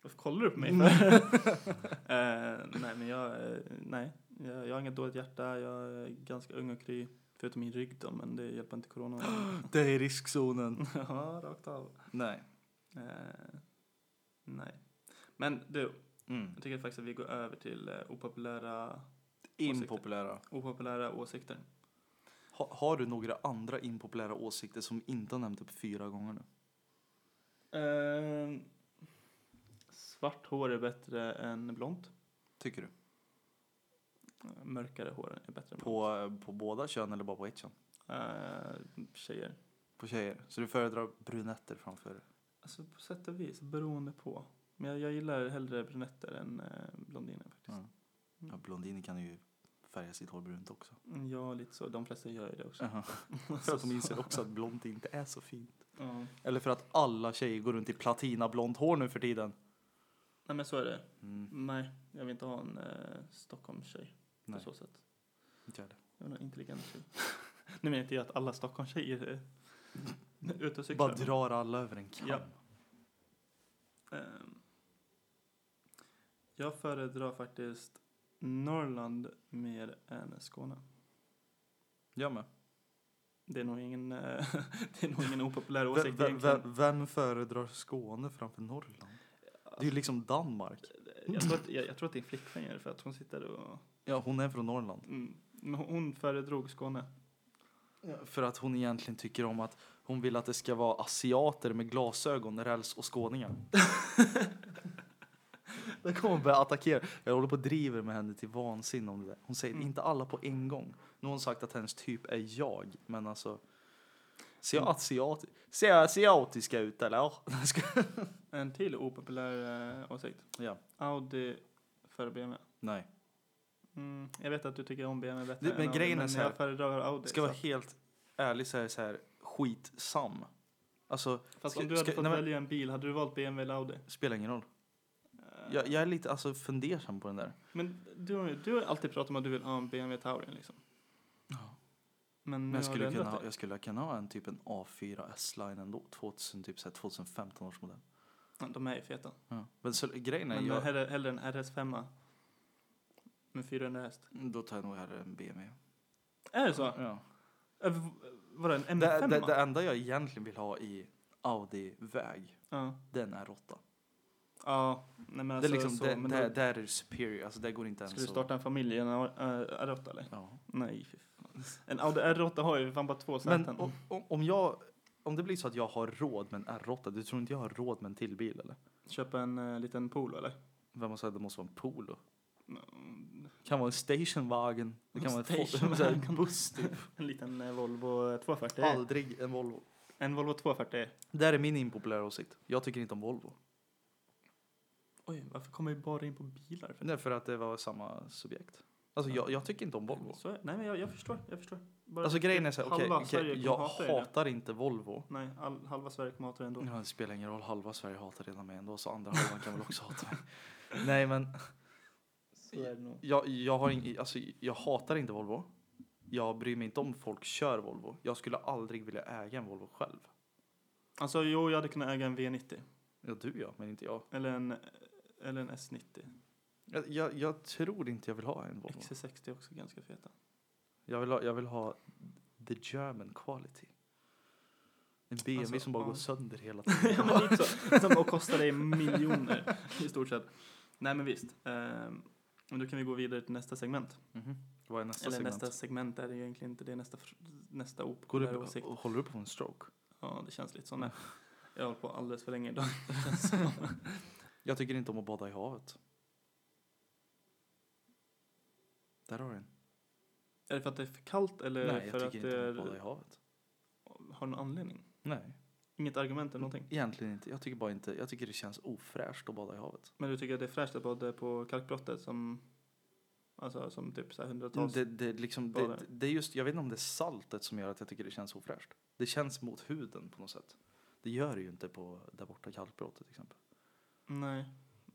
Speaker 2: varför kollar du på mig för? eh, nej, men jag... Eh, nej, jag, jag har inget dåligt hjärta. Jag är ganska ung och kry. Förutom min rygg då, men det hjälper inte corona.
Speaker 1: Det är i riskzonen.
Speaker 2: Mm. ja, rakt av.
Speaker 1: Nej.
Speaker 2: Eh, nej. Men du,
Speaker 1: Mm.
Speaker 2: jag tycker faktiskt att vi går över till eh, opopulära,
Speaker 1: Impopulära.
Speaker 2: opopulära åsikter.
Speaker 1: Ha, har du några andra impopulära åsikter som vi inte har nämnt upp fyra gånger nu?
Speaker 2: Eh, svart hår är bättre än blont.
Speaker 1: Tycker du?
Speaker 2: Eh, Mörkare hår är bättre än blont.
Speaker 1: På, på båda kön eller bara på ett kön?
Speaker 2: Eh, tjejer.
Speaker 1: På tjejer. Så du föredrar brunetter framför?
Speaker 2: Alltså på sätt och vis, beroende på. Men jag, jag gillar hellre brunetter än eh, blondiner faktiskt.
Speaker 1: Mm. Ja, blondiner kan ju färga sitt hår brunt också.
Speaker 2: Mm, Ja, lite så. De flesta gör ju det också.
Speaker 1: För att de inser också att blont inte är så fint.
Speaker 2: Ja.
Speaker 1: Eller för att alla tjejer går runt i platinablont hår nu för tiden.
Speaker 2: Nej men så är det.
Speaker 1: Mm.
Speaker 2: Nej, jag vill inte ha en eh, Stockholmstjej på
Speaker 1: Nej,
Speaker 2: så sätt.
Speaker 1: inte jag heller.
Speaker 2: Jag vill ha en intelligent tjej. nu menar inte jag att alla Stockholmstjejer är ute och cyklar.
Speaker 1: Bara drar alla över en kam.
Speaker 2: Ja. Ehm, Jag föredrar faktiskt Norrland mer än Skåne.
Speaker 1: Jag med.
Speaker 2: Det är nog ingen, eh, det är nog ingen opopulär
Speaker 1: Ve-
Speaker 2: åsikt
Speaker 1: ve-
Speaker 2: egentligen.
Speaker 1: ve- vem föredrar Skåne framför Norrland? Det är ju liksom Danmark.
Speaker 2: Eh, Jag tror, att, jag, jag tror att din flickvän gör det för att hon sitter och...
Speaker 1: Ja, hon är från Norrland.
Speaker 2: Mm, men hon- hon föredrog Skåne.
Speaker 1: För att hon egentligen tycker om att hon vill att det ska vara asiater med glasögon, räls och skåningar. Där kommer hon börja attackera. Jag håller på och driver med henne till vansinne om det där. Hon säger
Speaker 2: Mm.
Speaker 1: inte alla på en gång. Nu har hon sagt att hennes typ är jag, men alltså. Ser jag,
Speaker 2: Mm.
Speaker 1: asiat, ser jag asiatiska ut eller?
Speaker 2: En till opopulär eh, åsikt.
Speaker 1: ja,
Speaker 2: Audi före BMW.
Speaker 1: nej.
Speaker 2: Mm, jag vet att du tycker om BMW bättre
Speaker 1: Det- men
Speaker 2: än Audi,
Speaker 1: grejen är
Speaker 2: men
Speaker 1: så här-
Speaker 2: jag föredrar Audi.
Speaker 1: Ska jag
Speaker 2: så-
Speaker 1: vara helt ärlig så är det så här skitsam. Alltså,
Speaker 2: Fast
Speaker 1: ska-
Speaker 2: om du hade
Speaker 1: ska-
Speaker 2: fått
Speaker 1: nej, men-
Speaker 2: välja en bil, hade du valt BMW eller Audi?
Speaker 1: spelar ingen roll.
Speaker 2: Eh,
Speaker 1: Jag, jag är lite alltså, fundersam på den där.
Speaker 2: Men du, har- du har alltid pratat om att du vill ha en BMW Taurin liksom.
Speaker 1: Ja.
Speaker 2: Men
Speaker 1: Men
Speaker 2: nu
Speaker 1: jag
Speaker 2: har du
Speaker 1: skulle, kunna
Speaker 2: ändrat
Speaker 1: ha,
Speaker 2: dig.
Speaker 1: jag skulle kunna ha en typ en A4 S-line ändå, 2000, typ så här 2015 års modell.
Speaker 2: Ja, De är ju feta.
Speaker 1: Ja. Men så, grejen är,
Speaker 2: men
Speaker 1: jag,
Speaker 2: hellre, hellre en RS5 med 400 häst.
Speaker 1: då tar jag nog hellre en BMW.
Speaker 2: Är det så?
Speaker 1: Ja.
Speaker 2: Äh, v- Var det en M5?
Speaker 1: Det, det, det enda jag egentligen vill ha i Audi-väg,
Speaker 2: Ja.
Speaker 1: den är råtta.
Speaker 2: ja, nej men
Speaker 1: det
Speaker 2: alltså
Speaker 1: är liksom,
Speaker 2: så.
Speaker 1: det,
Speaker 2: men
Speaker 1: det,
Speaker 2: då,
Speaker 1: där är det superior, alltså det går inte ens
Speaker 2: ska du starta en familj i en R- R8 eller?
Speaker 1: Ja.
Speaker 2: Nej, fy fan. En Audi R8 har ju fan bara två
Speaker 1: Men
Speaker 2: säten.
Speaker 1: o- o- om jag, om det blir så att jag har råd med en R8, du tror inte jag har råd med en till bil eller?
Speaker 2: Köpa en eh, liten Polo eller?
Speaker 1: Vem har sagt att det måste vara en Polo?
Speaker 2: Mm,
Speaker 1: Det kan vara en stationwagen, det kan vara en, Ford-
Speaker 2: Stationwagen.
Speaker 1: så här, en buss typ.
Speaker 2: En liten eh, Volvo 240.
Speaker 1: Aldrig en Volvo.
Speaker 2: En Volvo 240.
Speaker 1: Det här är min impopulära åsikt. Jag tycker inte om Volvo.
Speaker 2: Oj, varför kommer vi bara in på bilar? För?
Speaker 1: Nej, för att det var samma subjekt. Alltså
Speaker 2: Ja.
Speaker 1: jag, jag tycker inte om Volvo.
Speaker 2: Så är, nej, men jag, jag förstår. Jag förstår. Bara
Speaker 1: Alltså grejen är så här, okej,
Speaker 2: halva
Speaker 1: okej,
Speaker 2: Sverige kommer
Speaker 1: jag
Speaker 2: hata det nu.
Speaker 1: hatar inte Volvo.
Speaker 2: Nej, all, halva Sverige kommer hata det ändå.
Speaker 1: Ja, det spelar ingen roll, halva Sverige hatar redan mig ändå så andra halvan kan väl också hata mig. Nej men,
Speaker 2: Så är det nog.
Speaker 1: jag, jag, har ing, alltså, jag hatar inte Volvo. Jag bryr mig inte om folk kör Volvo. Jag skulle aldrig vilja äga en Volvo själv.
Speaker 2: Alltså jo, jag hade kunnat äga en V90.
Speaker 1: Ja, du ja, men inte jag.
Speaker 2: Eller en, eller en S90.
Speaker 1: Jag, jag, jag tror inte jag vill ha en Volvo.
Speaker 2: XC60 är också ganska feta.
Speaker 1: Jag vill ha, jag vill ha the German quality. En BMW
Speaker 2: Alltså,
Speaker 1: som bara
Speaker 2: ja.
Speaker 1: går sönder hela
Speaker 2: ja,
Speaker 1: tiden.
Speaker 2: men lite så. Som, och kostar dig miljoner i stort sett. Nej, men visst. Ehm, men då kan vi gå vidare till nästa segment.
Speaker 1: Mhm. Vad är nästa
Speaker 2: eller
Speaker 1: segment?
Speaker 2: nästa segment är det ju egentligen inte. Det är nästa, fr- nästa
Speaker 1: Går Oh. du,
Speaker 2: opopulära åsikt.
Speaker 1: håller du på en stroke?
Speaker 2: Ja, det känns lite så. Nej. Jag har hållit på alldeles för länge idag. Det känns som.
Speaker 1: Jag tycker inte om att bada i havet. Där har du en.
Speaker 2: är det för att det är för kallt eller
Speaker 1: Nej,
Speaker 2: för
Speaker 1: jag
Speaker 2: att
Speaker 1: tycker inte om
Speaker 2: det är,
Speaker 1: att bada i havet.
Speaker 2: har någon anledning?
Speaker 1: Nej,
Speaker 2: Inget argument eller någonting?
Speaker 1: egentligen inte. Jag tycker bara inte. Jag tycker det känns ofräscht att bada i havet.
Speaker 2: Men du tycker att det är fräscht att bada på kalkbrottet som Alltså som typ så här hundratals.
Speaker 1: Det, det, är liksom,
Speaker 2: Bara
Speaker 1: det,
Speaker 2: det.
Speaker 1: det är just, jag vet inte om det är saltet som gör att jag tycker det känns ofräscht. Det känns mot huden på något sätt. Det gör det ju inte på där borta kalkbrottet till exempel.
Speaker 2: Nej.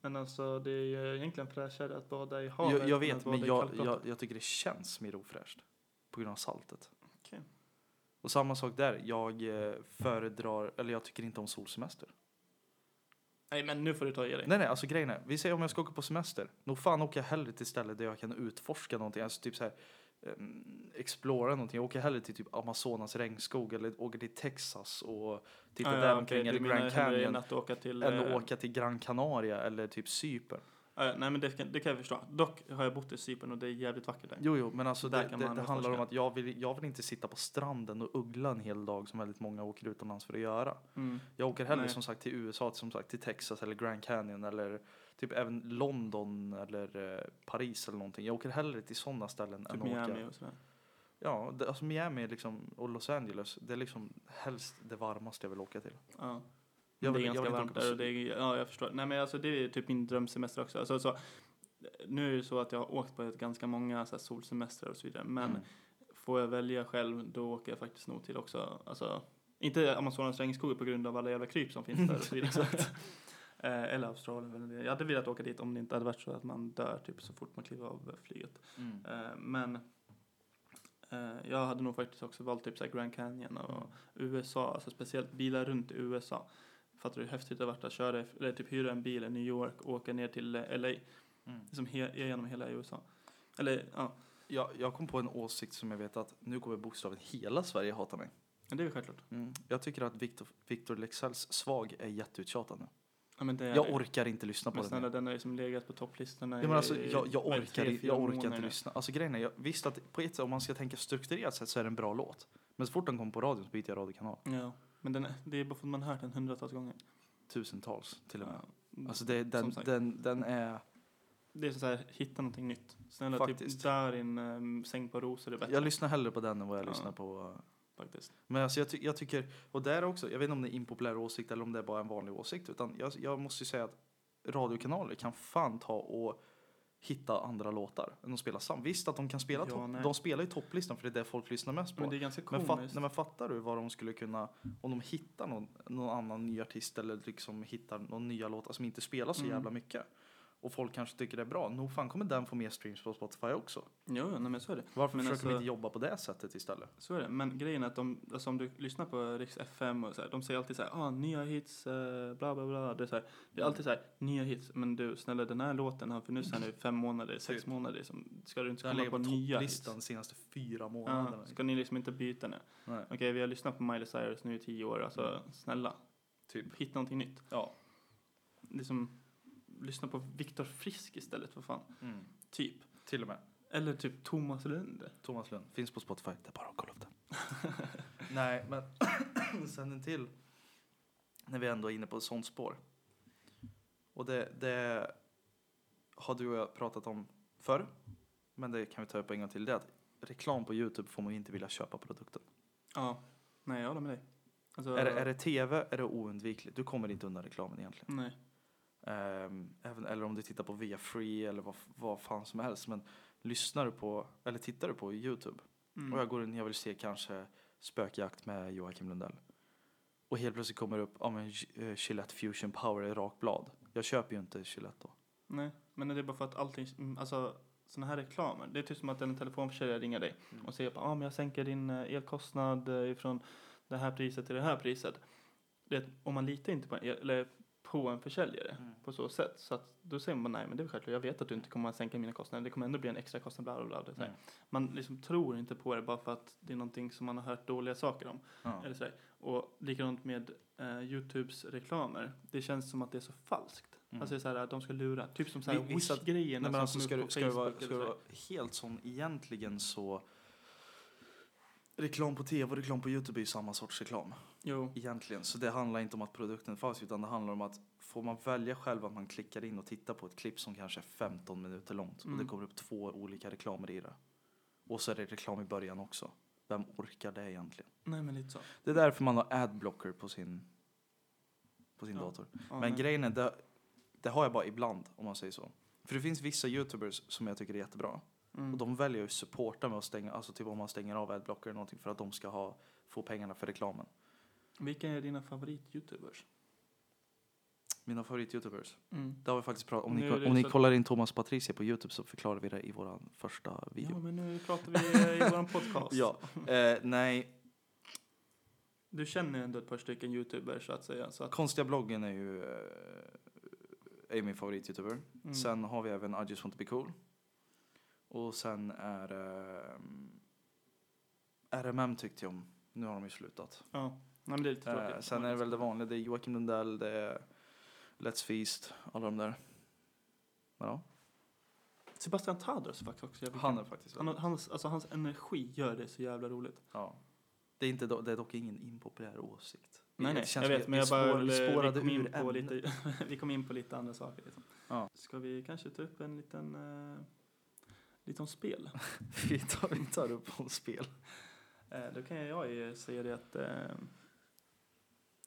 Speaker 2: Men alltså det är ju egentligen fräschare att bada i havet.
Speaker 1: Jag, jag
Speaker 2: än
Speaker 1: vet,
Speaker 2: att
Speaker 1: men
Speaker 2: bada i
Speaker 1: jag,
Speaker 2: kalkbrottet.
Speaker 1: jag, jag tycker det känns mer ofräscht på grund av saltet.
Speaker 2: Okej.
Speaker 1: Och samma sak där, jag eh, föredrar, eller jag tycker inte om solsemester.
Speaker 2: Nej men nu får du ta i dig.
Speaker 1: Nej, nej, alltså grejen är, vi säger om jag ska åka på semester, nog fan åker jag hellre till stället där jag kan utforska någonting, alltså typ så här, ehm, explora någonting. Jag åker hellre till typ Amazonas regnskog eller åker till Texas och tittar
Speaker 2: Ah, ja,
Speaker 1: där
Speaker 2: okej,
Speaker 1: omkring
Speaker 2: du
Speaker 1: eller
Speaker 2: menar
Speaker 1: Grand
Speaker 2: hellre än
Speaker 1: Canyon.
Speaker 2: Att åka till,
Speaker 1: Eller
Speaker 2: eh,
Speaker 1: åka till Gran Canaria eller typ Cypern.
Speaker 2: eh, nej men det kan, det kan jag förstå. Dock har jag bott i Cypern och det är jävligt vackert där.
Speaker 1: Jo, jo, men alltså
Speaker 2: Där
Speaker 1: det,
Speaker 2: kan
Speaker 1: det,
Speaker 2: man
Speaker 1: det handlar om
Speaker 2: utforska.
Speaker 1: att jag vill, jag vill inte sitta på stranden och uggla en hel dag som väldigt många åker utomlands för att göra.
Speaker 2: Mm.
Speaker 1: Jag åker hellre
Speaker 2: Nej.
Speaker 1: som sagt till USA, som sagt till Texas eller Grand Canyon eller typ även London eller eh, Paris eller någonting. Jag åker hellre till sådana ställen
Speaker 2: Typ
Speaker 1: än att
Speaker 2: Miami
Speaker 1: åka.
Speaker 2: och sådär.
Speaker 1: Ja, det, alltså Miami liksom, och Los Angeles, det är liksom helst det varmaste jag vill åka till.
Speaker 2: Ja.
Speaker 1: Jag
Speaker 2: det är
Speaker 1: vill- jag
Speaker 2: ganska
Speaker 1: vill inte
Speaker 2: varmt
Speaker 1: åka på
Speaker 2: där
Speaker 1: sol.
Speaker 2: och det är, ja jag förstår. Nej men alltså det är typ min drömsemester också. Alltså, så, nu är det så att jag har åkt på ett ganska många så här, solsemestrar och så vidare. Men
Speaker 1: Mm.
Speaker 2: får jag välja själv då åker jag faktiskt nog till också. Alltså, inte Amazonas regnskogar på grund av alla jävla kryp som finns där och så vidare. så att, eh, eller Australien. eller det. Jag hade velat åka dit om det inte hade varit så att man dör typ så fort man kliver av flyget.
Speaker 1: Mm.
Speaker 2: Eh, men eh, jag hade nog faktiskt också valt typ så här Grand Canyon och
Speaker 1: Mm.
Speaker 2: USA, alltså speciellt bilar runt i USA. Fattar du hur häftigt det har varit att köra, eller typ hyra en bil i New York och åka ner till eh, LA,
Speaker 1: Mm.
Speaker 2: liksom he- genom hela USA. Eller ja,
Speaker 1: Jag, jag kom på en åsikt som jag vet att nu kommer bokstaven hela Sverige hata mig.
Speaker 2: men det är ju självklart.
Speaker 1: Jag tycker att Victor, Victor Leksells svag är jätteuttjatad nu.
Speaker 2: Ja, men det är
Speaker 1: Jag orkar inte lyssna på
Speaker 2: Men
Speaker 1: den. mer.
Speaker 2: snälla, den har ju som legat på topplistorna
Speaker 1: Ja, men alltså,
Speaker 2: i-
Speaker 1: jag, jag
Speaker 2: vad är det,
Speaker 1: orkar,
Speaker 2: tre,
Speaker 1: inte-
Speaker 2: fyra
Speaker 1: jag orkar
Speaker 2: månader
Speaker 1: inte
Speaker 2: nu.
Speaker 1: lyssna. Alltså, grejen är, jag, visst att på ett sätt, om man ska tänka strukturerat sätt så är det en bra låt. Men så fort den kommer på radion så byter jag radiokanal.
Speaker 2: Ja, men den, är- det är bara för att man har hört den hundratals gånger.
Speaker 1: Tusentals till och med.
Speaker 2: Ja.
Speaker 1: Alltså det, den,
Speaker 2: Som sagt.
Speaker 1: den, den är...
Speaker 2: Det är så här, hitta någonting nytt. Snälla,
Speaker 1: Faktiskt.
Speaker 2: typ där in um, säng på rosor är bättre.
Speaker 1: Jag lyssnar hellre på den än vad jag
Speaker 2: Ja.
Speaker 1: lyssnar på... eh,
Speaker 2: faktiskt.
Speaker 1: Men alltså jag, ty, jag tycker, och där också, jag vet inte om det är impopulär åsikt eller om det är bara en vanlig åsikt. Utan jag, jag måste ju säga att radiokanaler kan fan ta och hitta andra låtar än att spela sam. Visst att de kan spela
Speaker 2: Ja,
Speaker 1: topp,
Speaker 2: nej.
Speaker 1: de spelar ju topplistan för det är det folk lyssnar mest på.
Speaker 2: Men det är ganska
Speaker 1: Men,
Speaker 2: komiskt.
Speaker 1: fat, nej, men fattar du vad de skulle kunna, om de hittar någon, någon annan ny artist eller liksom hittar någon nya låt som inte spelar så
Speaker 2: Mm.
Speaker 1: jävla mycket och folk kanske tycker det är bra, nog fan kommer den få mer streams på Spotify också.
Speaker 2: Jo, jo, nej, men så är det.
Speaker 1: Varför
Speaker 2: Men
Speaker 1: försöker de
Speaker 2: alltså-
Speaker 1: inte jobba på det sättet istället?
Speaker 2: Så är det. Men grejen är att de, alltså om du lyssnar på Riks FM och så här, de säger alltid så här, ah, nya hits, eh, bla bla bla. Det är, så här, det är alltid så här, nya hits. Men du, snälla den här låten har funnits här nu i fem månader, sex
Speaker 1: Typ.
Speaker 2: månader. Liksom, ska du inte
Speaker 1: Den
Speaker 2: komma
Speaker 1: ligger
Speaker 2: på
Speaker 1: på
Speaker 2: nya hits?
Speaker 1: topplistan de senaste fyra månaderna.
Speaker 2: Ja, ska ni liksom inte byta nu?
Speaker 1: Nej,
Speaker 2: Okej, vi har lyssnat på Miley Cyrus nu i tio år, alltså snälla,
Speaker 1: Mm. typ.
Speaker 2: hitta någonting nytt.
Speaker 1: Ja.
Speaker 2: Liksom, lyssna på Viktor Frisk istället, för fan.
Speaker 1: Mm.
Speaker 2: Typ.
Speaker 1: Till och med.
Speaker 2: Eller typ Thomas Lund.
Speaker 1: Thomas Lund finns på Spotify. Det är bara att kolla upp den. Nej, men sen en till. När vi ändå är inne på ett sånt spår. Och det, det har du och jag pratat om förr. Men det kan vi ta upp en gång till. Det är att reklam på Youtube får man ju inte vilja köpa produkten.
Speaker 2: Ja. Nej, jag håller med dig. Alltså,
Speaker 1: Är, det, är det tv är det oundvikligt. Du kommer inte undan reklamen egentligen.
Speaker 2: Nej.
Speaker 1: Ehm, även, eller om du tittar på via free eller vad, vad fan som helst. Men lyssnar du på, eller tittar du på Youtube
Speaker 2: Mm.
Speaker 1: Och jag går in, jag vill se kanske Spökjakt med Joakim Lundell. Och helt plötsligt kommer det upp, ja men eh, Gillette Fusion Power i rakblad. Jag köper ju inte Gillette då.
Speaker 2: Nej, men det är bara för att allting, mm, alltså sådana här reklamer, det är typ som att en telefonförsäljare ringer dig och säger att ah, men jag sänker din eh, elkostnad eh, ifrån det här priset till det här priset. Det, om man litar inte på en, el- eller på en försäljare
Speaker 1: Mm.
Speaker 2: på så sätt, så att då säger man nej men det är väl självklart, jag vet att du inte kommer att sänka mina kostnader, det kommer ändå bli en extra kostnad, bla bla bla. Det är så här.
Speaker 1: Mm.
Speaker 2: Man liksom tror inte på det bara för att det är någonting som man har hört dåliga saker om.
Speaker 1: Ja.
Speaker 2: Eller så här. Och likadant med eh, Youtubes reklamer. Det känns som att det är så falskt.
Speaker 1: Mm.
Speaker 2: Alltså det är så här, att de ska lura. Typ som så
Speaker 1: Vi-
Speaker 2: här
Speaker 1: vissa- Nej,
Speaker 2: Wish-grejerna
Speaker 1: men alltså,
Speaker 2: som kom
Speaker 1: ska,
Speaker 2: ut
Speaker 1: du,
Speaker 2: på
Speaker 1: ska, du vara,
Speaker 2: Facebook.
Speaker 1: ska
Speaker 2: eller
Speaker 1: du
Speaker 2: så här.
Speaker 1: vara helt sån egentligen så Reklam på tv och reklam på Youtube är ju samma sorts reklam
Speaker 2: Jo,
Speaker 1: egentligen. Så det handlar inte om att produkten är falsk utan det handlar om att får man välja själv att man klickar in och tittar på ett klipp som kanske är 15 minuter långt och
Speaker 2: Mm.
Speaker 1: det kommer upp två olika reklamer i det. Och så är det reklam i början också. Vem orkar det egentligen?
Speaker 2: nej men lite så.
Speaker 1: Det är därför man har adblocker på sin, på sin
Speaker 2: Ja.
Speaker 1: dator.
Speaker 2: Ja,
Speaker 1: Men
Speaker 2: nej.
Speaker 1: grejen är, det, det har jag bara ibland om man säger så. För det finns vissa youtubers som jag tycker är jättebra.
Speaker 2: Mm.
Speaker 1: Och de väljer ju att supporta med att stänga, alltså typ om man stänger av adblocker eller någonting för att de ska ha, få pengarna för reklamen.
Speaker 2: Vilka är dina favorit-youtubers?
Speaker 1: Mina favorit-youtubers.
Speaker 2: Mm.
Speaker 1: Det har vi faktiskt pratat om.
Speaker 2: Nu
Speaker 1: Ni,
Speaker 2: är
Speaker 1: ko-
Speaker 2: det
Speaker 1: om ni
Speaker 2: så-
Speaker 1: kollar in Thomas Patricia på Youtube så förklarar vi det i vår första
Speaker 2: Ja,
Speaker 1: video.
Speaker 2: men nu pratar vi eh, i vår podcast.
Speaker 1: Ja, eh, nej.
Speaker 2: Du känner ju ändå ett par stycken youtubers så att säga. Så att,
Speaker 1: Konstiga bloggen är ju eh, är min favorit-youtuber.
Speaker 2: mm.
Speaker 1: Sen har vi även I just want to be cool. Och sen är eh, RMM tyckte jag om. Nu har de ju slutat.
Speaker 2: Ja, Nej, men det är lite tråkigt.
Speaker 1: Eh, sen är det väl det vanliga. Det är Joakim Lundell, det är Let's Feast, alla de där. Ja,
Speaker 2: Sebastian Tadros är faktiskt också jävligt
Speaker 1: han
Speaker 2: kul.
Speaker 1: är faktiskt
Speaker 2: han, har- hans, alltså, hans energi gör det så jävla roligt.
Speaker 1: Ja. Det, är inte, do- det är dock ingen impopulär åsikt. Det
Speaker 2: Nej, nej,
Speaker 1: känns
Speaker 2: jag
Speaker 1: som
Speaker 2: vet,
Speaker 1: vi-
Speaker 2: men
Speaker 1: vi
Speaker 2: jag bara
Speaker 1: spår-
Speaker 2: vill,
Speaker 1: vi
Speaker 2: vi,
Speaker 1: spårade
Speaker 2: kom in
Speaker 1: ur
Speaker 2: på
Speaker 1: ämnet.
Speaker 2: lite, vi kom in på lite andra saker. Liksom.
Speaker 1: Ja.
Speaker 2: Ska vi kanske ta upp en liten, eh, lite om spel?
Speaker 1: vi, tar, vi tar upp om spel.
Speaker 2: Eh, Då kan jag ju säga det att eh,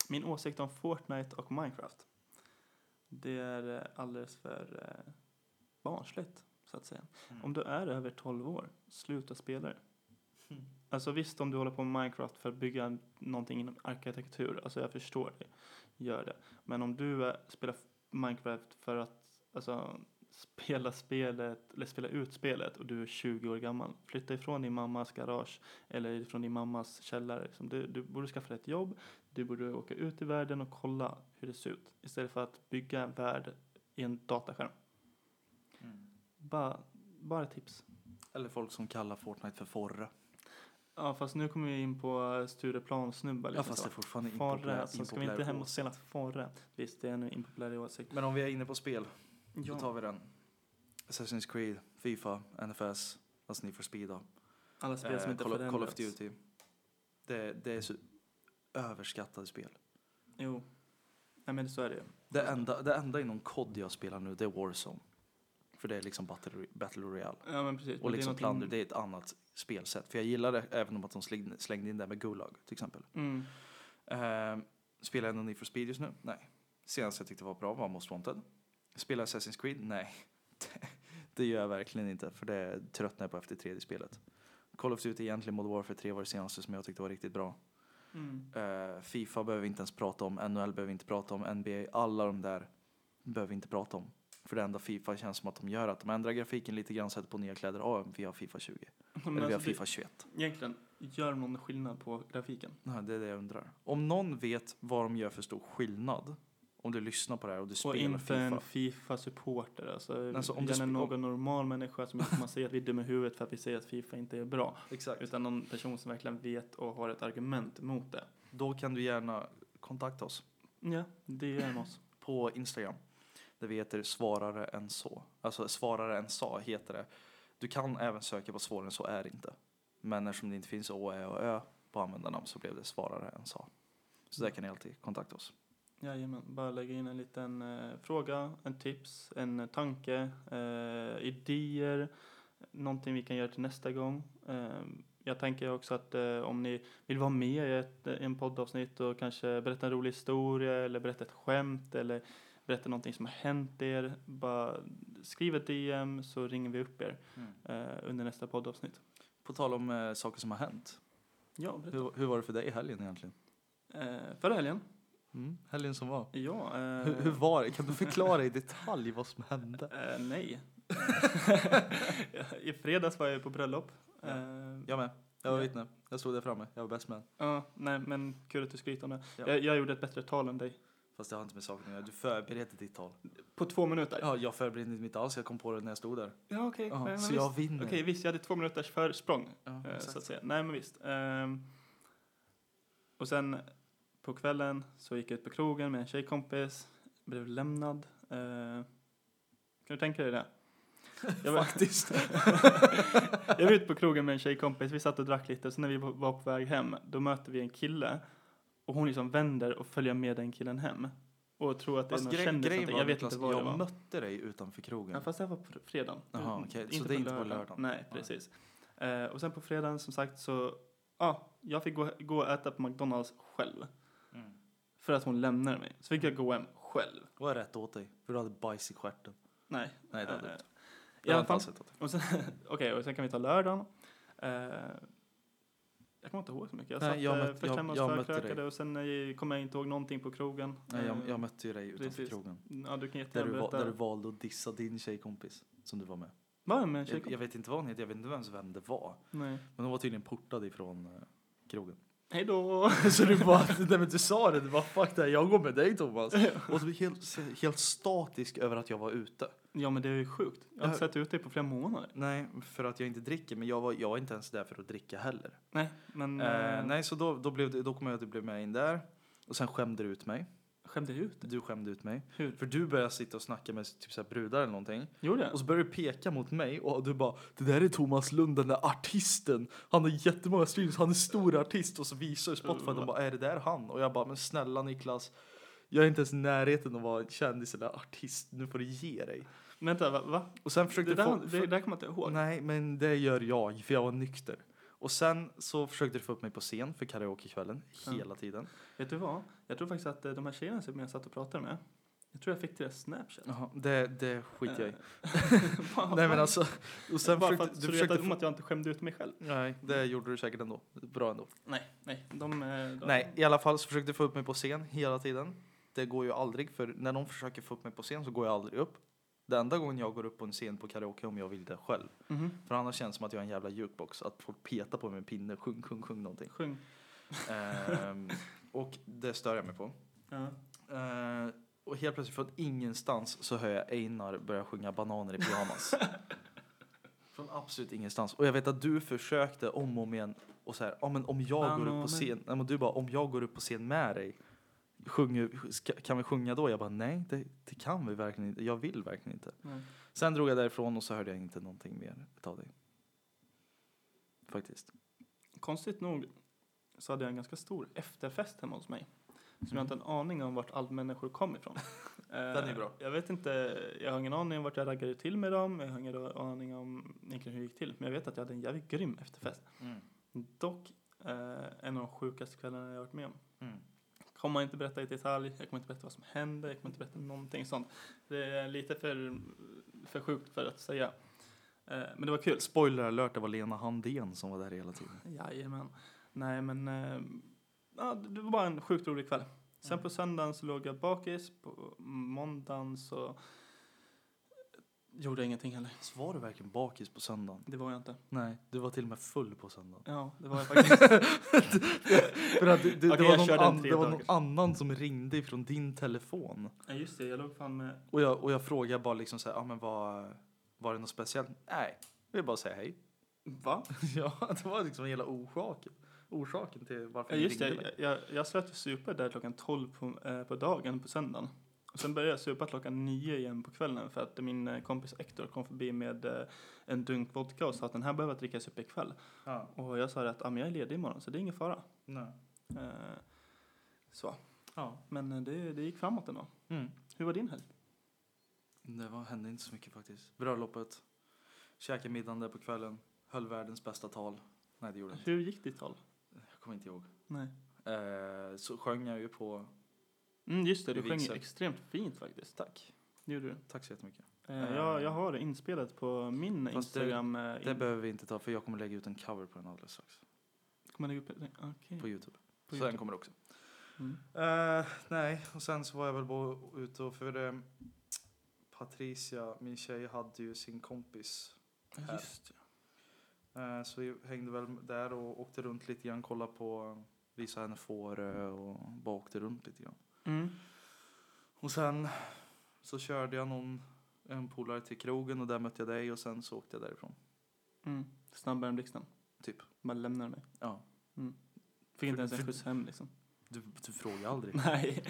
Speaker 2: min åsikt om Fortnite och Minecraft det är eh, alldeles för eh, barnsligt så att säga. Om du är över 12 år, sluta spela det.
Speaker 1: Mm.
Speaker 2: Alltså visst om du håller på med Minecraft för att bygga någonting inom arkitektur, alltså jag förstår det, gör det. Men om du eh, spelar Minecraft för att alltså, spela spelet, eller spela ut spelet och du är 20 år gammal, flytta ifrån din mammas garage eller från din mammas källare. Liksom. Du, du borde skaffa dig ett jobb, du borde åka ut i världen och kolla hur det ser ut istället för att bygga en värld i en dataskärm. Bara, bara tips.
Speaker 1: Eller folk som kallar Fortnite för Forre.
Speaker 2: Ja, fast nu kommer vi in på eh, Stureplan-snubbar.
Speaker 1: Ja,
Speaker 2: liksom
Speaker 1: fast
Speaker 2: så.
Speaker 1: det är fortfarande
Speaker 2: Farre,
Speaker 1: impopulär,
Speaker 2: alltså, ska vi inte
Speaker 1: impopulär
Speaker 2: hem och
Speaker 1: åsikt.
Speaker 2: sena Farre? Visst, det är en impopulär åsikt.
Speaker 1: Men om vi är inne på spel,
Speaker 2: Ja.
Speaker 1: då tar vi den. Assassin's Creed, Fifa, NFS, alltså Need for Speed då.
Speaker 2: Alla spel som
Speaker 1: Eh,
Speaker 2: inte
Speaker 1: Call, of- Call of
Speaker 2: förändrats.
Speaker 1: Duty. Det, det är så överskattade spel.
Speaker 2: Jo. Nej, men så är det ju.
Speaker 1: Det enda, det enda inom COD jag spelar nu, det är Warzone. För det är liksom Battle, battle Royale.
Speaker 2: Ja, men precis.
Speaker 1: Och
Speaker 2: men
Speaker 1: liksom
Speaker 2: det är
Speaker 1: Plunder,
Speaker 2: någonting-
Speaker 1: det är ett annat spelsätt. För jag gillar det, även om att de slängde, slängde in det med Gulag, till exempel.
Speaker 2: Mm.
Speaker 1: Ehm, spelar jag någon Need for Speed just nu? Nej. Senast jag tyckte var bra var Most Wanted. Spelar Assassin's Creed? Nej. Det- det gör jag verkligen inte, för det tröttnar jag på efter tredje spelet. Call of Duty egentligen, Modern Warfare 3 var det senaste som jag tyckte var riktigt bra.
Speaker 2: Mm.
Speaker 1: Eh, Fifa behöver vi inte ens prata om, NHL behöver vi inte prata om, NBA, alla de där behöver vi inte prata om. För det enda Fifa känns som att de gör att de ändrar grafiken lite grann, sätter på nya kläder. Ja, vi har Fifa 20.
Speaker 2: Men
Speaker 1: Eller vi har
Speaker 2: alltså, det-
Speaker 1: Fifa 21.
Speaker 2: Egentligen, gör någon skillnad på grafiken?
Speaker 1: Nej, det är det jag undrar. Om någon vet vad de gör för stor skillnad, om du lyssnar på det här och du
Speaker 2: Och
Speaker 1: spelar
Speaker 2: inte en
Speaker 1: Fifa.
Speaker 2: Fifa-supporter. Alltså,
Speaker 1: Alltså, om
Speaker 2: om
Speaker 1: du
Speaker 2: gärna
Speaker 1: sp-
Speaker 2: någon normal människa som inte kommer säga att vi är dumma i huvudet för att vi säger att Fifa inte är bra.
Speaker 1: Exakt.
Speaker 2: Utan någon person som verkligen vet och har ett argument mot det.
Speaker 1: Då kan du gärna kontakta oss
Speaker 2: Ja, det är en oss.
Speaker 1: på Instagram. Där vi heter svarare än så. Alltså svarare än sa heter det. Du kan även söka på svårare än så är det inte. Men eftersom det inte finns å, ä och ö på användarnamn så blev det svarare än sa. Så där kan ni alltid kontakta oss.
Speaker 2: Jajamän, bara lägga in en liten eh, fråga, en tips, en eh, tanke, eh, idéer, någonting vi kan göra till nästa gång. Eh, jag tänker också att eh, om ni vill vara med i ett, i en poddavsnitt och kanske berätta en rolig historia eller berätta ett skämt eller berätta någonting som har hänt er, bara skriv ett DM så ringer vi upp er
Speaker 1: Mm.
Speaker 2: eh, under nästa poddavsnitt.
Speaker 1: På tal om eh, saker som har hänt.
Speaker 2: Ja, berätta.
Speaker 1: Hur, hur var det för dig i helgen egentligen?
Speaker 2: Eh, förra helgen?
Speaker 1: Mm, helgen som var.
Speaker 2: Ja. eh,
Speaker 1: Hur, hur var det? Kan du förklara i detalj vad som hände?
Speaker 2: Eh, nej. I fredags var jag på bröllop.
Speaker 1: Ja.
Speaker 2: Eh,
Speaker 1: Jag med. Jag var
Speaker 2: Ja.
Speaker 1: vittne. Jag stod där framme. Jag var bäst man.
Speaker 2: ja, nej, men kul att du skryter om det.
Speaker 1: Ja.
Speaker 2: Jag, jag gjorde ett bättre tal än dig.
Speaker 1: Fast det har inte med saken att göra. Du förberedde ditt tal.
Speaker 2: På två minuter?
Speaker 1: Ja, jag förberedde inte mitt alls. Jag kom på det när jag stod där.
Speaker 2: Ja, okej.
Speaker 1: Ja,
Speaker 2: men
Speaker 1: så
Speaker 2: visst.
Speaker 1: jag vinner.
Speaker 2: Okej, visst, jag hade två minuters försprång.
Speaker 1: Ja,
Speaker 2: eh,
Speaker 1: exakt.
Speaker 2: så att säga. Nej, men visst. Ehm, och sen på kvällen så gick jag ut på krogen med en tjejkompis. Blev lämnad. Eh, kan du tänka dig det? Jag var,
Speaker 1: Faktiskt.
Speaker 2: jag var ute på krogen med en tjejkompis, vi satt och drack lite, så när vi var på väg hem, då möter vi en kille och hon liksom vänder och följer med den killen hem. Och tror att det är
Speaker 1: Fast
Speaker 2: någon
Speaker 1: grej,
Speaker 2: kändis,
Speaker 1: grejen
Speaker 2: någonting.
Speaker 1: var,
Speaker 2: jag vet
Speaker 1: Niklas,
Speaker 2: inte vad
Speaker 1: jag
Speaker 2: det var.
Speaker 1: mötte dig utanför krogen.
Speaker 2: Ja, fast det här var på fredagen.
Speaker 1: Jaha,
Speaker 2: Mm,
Speaker 1: okej. Så det är inte på lördagen. Nej.
Speaker 2: Nej, precis. Eh, och sen på fredagen, som sagt, så... Ja, jag fick gå, gå och äta på McDonalds själv.
Speaker 1: Mm.
Speaker 2: För att hon lämnade mig. Så fick jag gå hem själv.
Speaker 1: Det var rätt åt dig, för du hade bajs i stjärten.
Speaker 2: Nej.
Speaker 1: Nej, det hade du
Speaker 2: eh,
Speaker 1: inte. Jag har
Speaker 2: I alla
Speaker 1: inte
Speaker 2: fall.
Speaker 1: alls sett det.
Speaker 2: Och sen, okej, och sen kan vi ta lördagen. Eh, jag kommer inte ihåg så mycket. Jag
Speaker 1: Nej,
Speaker 2: satt
Speaker 1: jag
Speaker 2: eh,
Speaker 1: mötte-
Speaker 2: först
Speaker 1: jag-
Speaker 2: hemma och
Speaker 1: jag mötte dig.
Speaker 2: spökrökade och sen eh, kom jag inte ihåg någonting på krogen.
Speaker 1: Nej, jag,
Speaker 2: Eh,
Speaker 1: jag mötte ju dig utanför
Speaker 2: precis.
Speaker 1: krogen.
Speaker 2: Ja, du kan
Speaker 1: Där
Speaker 2: jättegärna
Speaker 1: du, va,
Speaker 2: berätta.
Speaker 1: där du valde att dissa din tjejkompis som du var med.
Speaker 2: Var jag med en
Speaker 1: Jag,
Speaker 2: tjejkompis?
Speaker 1: jag vet inte vad hon heter, jag vet inte vems vän det var.
Speaker 2: Nej.
Speaker 1: Men hon var tydligen portad ifrån eh, krogen.
Speaker 2: Hej då!
Speaker 1: så du bara, nej men du sa det, du bara fuck det här, jag går med dig Thomas. Och så helt, helt statisk över att jag var ute.
Speaker 2: Ja, men det är ju sjukt. Jag har inte
Speaker 1: Ja.
Speaker 2: sett ut dig på flera månader.
Speaker 1: Nej, för att jag inte dricker, men jag var, jag var inte ens där för att dricka heller.
Speaker 2: Nej, men...
Speaker 1: Eh, nej, så då, då, blev det, då kom jag att du blev med in där. Och sen skämde du ut mig.
Speaker 2: Skämde jag ut dig?
Speaker 1: Du skämde ut mig.
Speaker 2: Hur?
Speaker 1: För du började sitta och snacka med typ så här brudar eller någonting.
Speaker 2: Gjorde jag?
Speaker 1: Och så började du peka mot mig och du bara Det där är Thomas Lund, den där artisten. Han har jättemånga streams, han är stor artist. Och så visar du Spotify och de bara Är det där han? Och jag bara Men snälla Niklas. Jag är inte ens i närheten av att vara en kändis eller artist. Nu får du ge dig.
Speaker 2: Vänta, va? va?
Speaker 1: Och sen
Speaker 2: Det
Speaker 1: försökte
Speaker 2: där,
Speaker 1: få,
Speaker 2: det där kommer jag inte ihåg.
Speaker 1: Nej, men det gör jag, för jag var nykter. Och sen så försökte du få upp mig på scen för karaokekvällen
Speaker 2: Ja.
Speaker 1: hela tiden.
Speaker 2: Vet du vad? Jag tror faktiskt att eh, de här tjejerna som jag satt och pratade med, jag tror jag fick deras Snapchat.
Speaker 1: Jaha, det, det skiter jag i.
Speaker 2: Bara-
Speaker 1: Nej men alltså, och sen
Speaker 2: Eh, Bara
Speaker 1: försökte
Speaker 2: för att,
Speaker 1: du
Speaker 2: så du
Speaker 1: försökte
Speaker 2: vet om
Speaker 1: få,
Speaker 2: att jag inte skämde ut mig själv?
Speaker 1: Nej, det gjorde du säkert ändå. Bra ändå.
Speaker 2: Nej, nej. De, eh, de,
Speaker 1: Nej, i alla fall så försökte du få upp mig på scen hela tiden. Det går ju aldrig, för när någon försöker få upp mig på scen så går jag aldrig upp. Den enda gången jag går upp på en scen på karaoke om jag vill det själv.
Speaker 2: Mhm.
Speaker 1: För annars känns det som att jag är en jävla jukebox. Att folk petar på mig med en pinne. Sjung, sjung, sjung någonting.
Speaker 2: Sjung.
Speaker 1: Ehm, och det stör jag mig på.
Speaker 2: Ja.
Speaker 1: Eh, och helt plötsligt från ingenstans så hör jag Einar börja sjunga bananer i pyjamas. från absolut ingenstans. Och jag vet att du försökte om och om igen och så här, ja men om jag går upp på
Speaker 2: Bananer.
Speaker 1: scen, nej men du bara om jag går upp på scen med dig, sjunger, ska, kan vi sjunga då? Jag bara nej, det, det kan vi verkligen inte, jag vill verkligen inte.
Speaker 2: Nej.
Speaker 1: Sen drog jag därifrån och så hörde jag inte någonting mer utav dig. Faktiskt.
Speaker 2: Konstigt nog så hade jag en ganska stor efterfest hemma hos mig. Som
Speaker 1: Mm.
Speaker 2: jag inte har en aning om vart all människor kom ifrån. Eh,
Speaker 1: Den är bra.
Speaker 2: Jag vet inte, jag har ingen aning om vart jag raggade till med dem. Jag har ingen aning om egentligen hur det gick till. Men jag vet att jag hade en jävligt grym efterfest.
Speaker 1: Mm.
Speaker 2: Dock eh, en av de sjukaste kvällarna jag har varit med om.
Speaker 1: Mm.
Speaker 2: kommer inte berätta i detalj, jag kommer inte berätta vad som hände, jag kommer inte berätta någonting sånt. Det är lite för, för sjukt för att säga. Eh, men det var kul.
Speaker 1: Spoiler alert, det var Lena Handén som var där hela tiden.
Speaker 2: Jajamän. Nej men, eh, ja, det var bara en sjukt rolig kväll. Sen
Speaker 1: Mm.
Speaker 2: på söndagen så låg jag bakis, på måndagen så gjorde jag ingenting heller.
Speaker 1: Så var du verkligen bakis på söndagen?
Speaker 2: Det var jag inte.
Speaker 1: Nej, du var till och med full på söndagen.
Speaker 2: Ja, det var jag faktiskt.
Speaker 1: För att du, du,
Speaker 2: Okej,
Speaker 1: det
Speaker 2: jag
Speaker 1: var, någon,
Speaker 2: körde en
Speaker 1: an,
Speaker 2: tre
Speaker 1: det var någon
Speaker 2: dagars.
Speaker 1: annan som ringde ifrån din telefon.
Speaker 2: ja, just det, jag låg fan med,
Speaker 1: Och jag, och jag frågade bara liksom så här, ah, men var, var det något speciellt? Nej, jag vill bara säga hej.
Speaker 2: va?
Speaker 1: ja, det var liksom hela orsaken, orsaken till varför
Speaker 2: Ja,
Speaker 1: ni
Speaker 2: just
Speaker 1: ringde
Speaker 2: det.
Speaker 1: mig.
Speaker 2: Jag, jag, jag slöt ju supa där klockan 12 på, eh, på dagen på söndagen. Och sen började jag supa klockan 9 igen på kvällen för att min eh, kompis Hector kom förbi med eh, en dunk vodka och sa att den här behöver jag drickas upp ikväll.
Speaker 1: Ja,
Speaker 2: Och jag sa det att ah, men jag är ledig imorgon så det är ingen fara.
Speaker 1: nej.
Speaker 2: Eh, så.
Speaker 1: Ja.
Speaker 2: Men eh, det, det gick framåt ändå.
Speaker 1: Mm.
Speaker 2: Hur var din helg?
Speaker 1: Det var, hände inte så mycket faktiskt. Bröllopet, käkade middagen där på kvällen, höll världens bästa tal. Nej, det gjorde jag inte.
Speaker 2: Hur gick ditt tal?
Speaker 1: Jag kommer inte ihåg.
Speaker 2: Nej.
Speaker 1: Eh, så sjöng jag ju på,
Speaker 2: Mm, just det,
Speaker 1: Det
Speaker 2: du sjöng ju
Speaker 1: vigsel.
Speaker 2: extremt fint faktiskt. Tack. Det gjorde du.
Speaker 1: tack så jättemycket.
Speaker 2: Eh, jag, jag har det inspelat på min
Speaker 1: Fast det-
Speaker 2: Instagram. eh,
Speaker 1: Det
Speaker 2: in-
Speaker 1: behöver vi inte ta för jag kommer lägga ut en cover på den alldeles strax.
Speaker 2: Kommer det upp? Okej.
Speaker 1: Mm. På Youtube.
Speaker 2: På
Speaker 1: så
Speaker 2: YouTube.
Speaker 1: den kommer också.
Speaker 2: Mm.
Speaker 1: Eh, nej, och sen så var jag väl bara ute och för eh, Patricia, min tjej, hade ju sin kompis.
Speaker 2: Ja,
Speaker 1: här.
Speaker 2: Just det.
Speaker 1: Eh, så vi hängde väl där och åkte runt lite grann, kollade på, visade henne Fårö och bara åkte runt lite grann.
Speaker 2: Mm.
Speaker 1: Och sen så körde jag någon, en polare till krogen och där mötte jag dig och sen så åkte jag därifrån.
Speaker 2: Mm. Snabbare än blixten.
Speaker 1: Typ.
Speaker 2: Bara lämnar mig.
Speaker 1: Ja.
Speaker 2: Fick inte
Speaker 1: För-
Speaker 2: ens en
Speaker 1: för-
Speaker 2: skjuts hem liksom.
Speaker 1: Du, du frågade aldrig.
Speaker 2: Nej.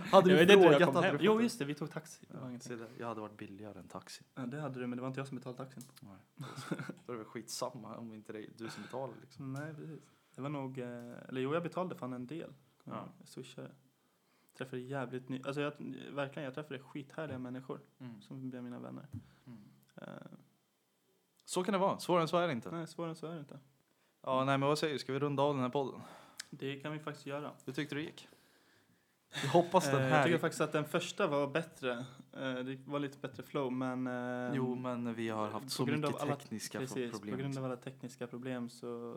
Speaker 1: Hade du
Speaker 2: Det var det
Speaker 1: frågat
Speaker 2: jag kom
Speaker 1: hade
Speaker 2: hem.
Speaker 1: du fått
Speaker 2: Jo
Speaker 1: det.
Speaker 2: just det, vi tog taxi. Det, var
Speaker 1: Ja, se
Speaker 2: ingenting.
Speaker 1: där. jag hade varit billigare än taxi.
Speaker 2: ja, det hade du men det var inte jag som betalade taxin.
Speaker 1: Nej. Då är det väl skitsamma om inte det är du som betalar liksom.
Speaker 2: Nej precis. Det var nog, eh, eller jo jag betalade fan en del. Kommer
Speaker 1: Ja.
Speaker 2: jag ihåg. Jag swishade. Träffade jävligt ny, alltså jag, verkligen jag träffade skithärliga människor som blev mina vänner. Eh,
Speaker 1: Så kan det vara, svårare än så är det inte.
Speaker 2: nej svårare än så är det inte.
Speaker 1: Ja, nej men vad säger du, ska vi runda av den här podden?
Speaker 2: Det kan vi faktiskt göra.
Speaker 1: Hur tyckte du det gick? Jag hoppas den
Speaker 2: Eh, jag
Speaker 1: här
Speaker 2: tycker
Speaker 1: gick.
Speaker 2: faktiskt att den första var bättre Eh, det var lite bättre flow men... eh,
Speaker 1: Mm. Jo, men vi har haft så
Speaker 2: på grund av
Speaker 1: mycket
Speaker 2: alla-
Speaker 1: tekniska
Speaker 2: Precis,
Speaker 1: problem.
Speaker 2: på grund av alla tekniska problem så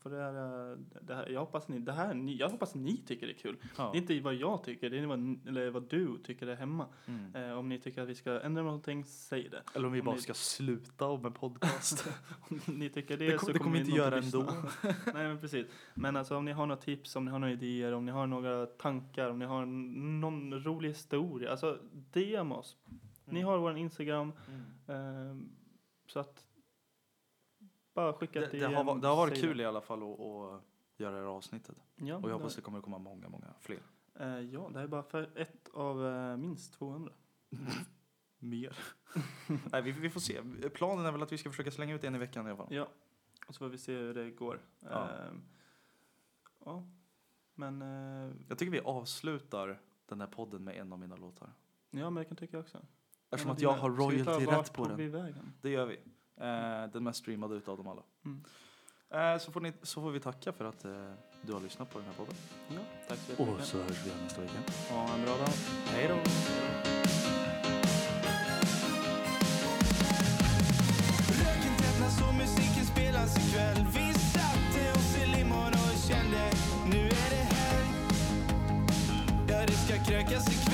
Speaker 2: får det här, eh, det här, jag hoppas ni, det här, ni, jag hoppas ni tycker det är kul.
Speaker 1: ja.
Speaker 2: Det är inte vad jag tycker, det är vad, eller vad du tycker är hemma.
Speaker 1: mm.
Speaker 2: Eh, om ni tycker att vi ska ändra någonting, säg det.
Speaker 1: Eller om vi
Speaker 2: om
Speaker 1: bara
Speaker 2: ni-
Speaker 1: ska sluta med podcast.
Speaker 2: Om ni tycker det,
Speaker 1: det,
Speaker 2: så
Speaker 1: kom, det kommer vi inte
Speaker 2: nog
Speaker 1: göra
Speaker 2: lyssna. Mm.
Speaker 1: ändå.
Speaker 2: Nej men precis. Men alltså om ni har några tips, om ni har några idéer, om ni har några tankar, om ni har n- någon rolig historia. Alltså DM oss. Ni
Speaker 1: Mm.
Speaker 2: har vår Instagram. Eh, så att bara skicka
Speaker 1: Det,
Speaker 2: ett
Speaker 1: det, har,
Speaker 2: DM,
Speaker 1: va- det har varit
Speaker 2: säg
Speaker 1: kul i alla fall att, att göra det här avsnittet.
Speaker 2: Ja,
Speaker 1: Och jag
Speaker 2: det-
Speaker 1: hoppas det kommer att komma många, många fler.
Speaker 2: Eh, ja, det här är bara för ett av eh, minst 200.
Speaker 1: Mer? Nej, vi, vi får se. Planen är väl att vi ska försöka slänga ut en i veckan i alla fall.
Speaker 2: Ja, och så får vi se hur det går.
Speaker 1: Ja.
Speaker 2: Eh, ja. Men, eh,
Speaker 1: Jag tycker vi avslutar den här podden med en av mina låtar.
Speaker 2: ja, men jag kan tycka också.
Speaker 1: Eftersom
Speaker 2: Men
Speaker 1: att jag
Speaker 2: dina-
Speaker 1: har
Speaker 2: ska vi ta
Speaker 1: royalty-rätt
Speaker 2: vart
Speaker 1: på
Speaker 2: tog
Speaker 1: den.
Speaker 2: vi vägen?
Speaker 1: Det gör vi. Eh, den mest streamade utav dem alla.
Speaker 2: Mm.
Speaker 1: Eh, så, får ni, så får vi tacka för att eh, du har lyssnat på den här podden.
Speaker 2: Ja, tack så
Speaker 1: Och
Speaker 2: jättemycket.
Speaker 1: så hörs vi igen nästa vecka.
Speaker 2: Ha en bra dag.
Speaker 1: Hej då!
Speaker 3: Röken tätnas och musiken spelas ikväll Vi satte oss i limon och kände nu är det här Ja, det ska krökas ikväll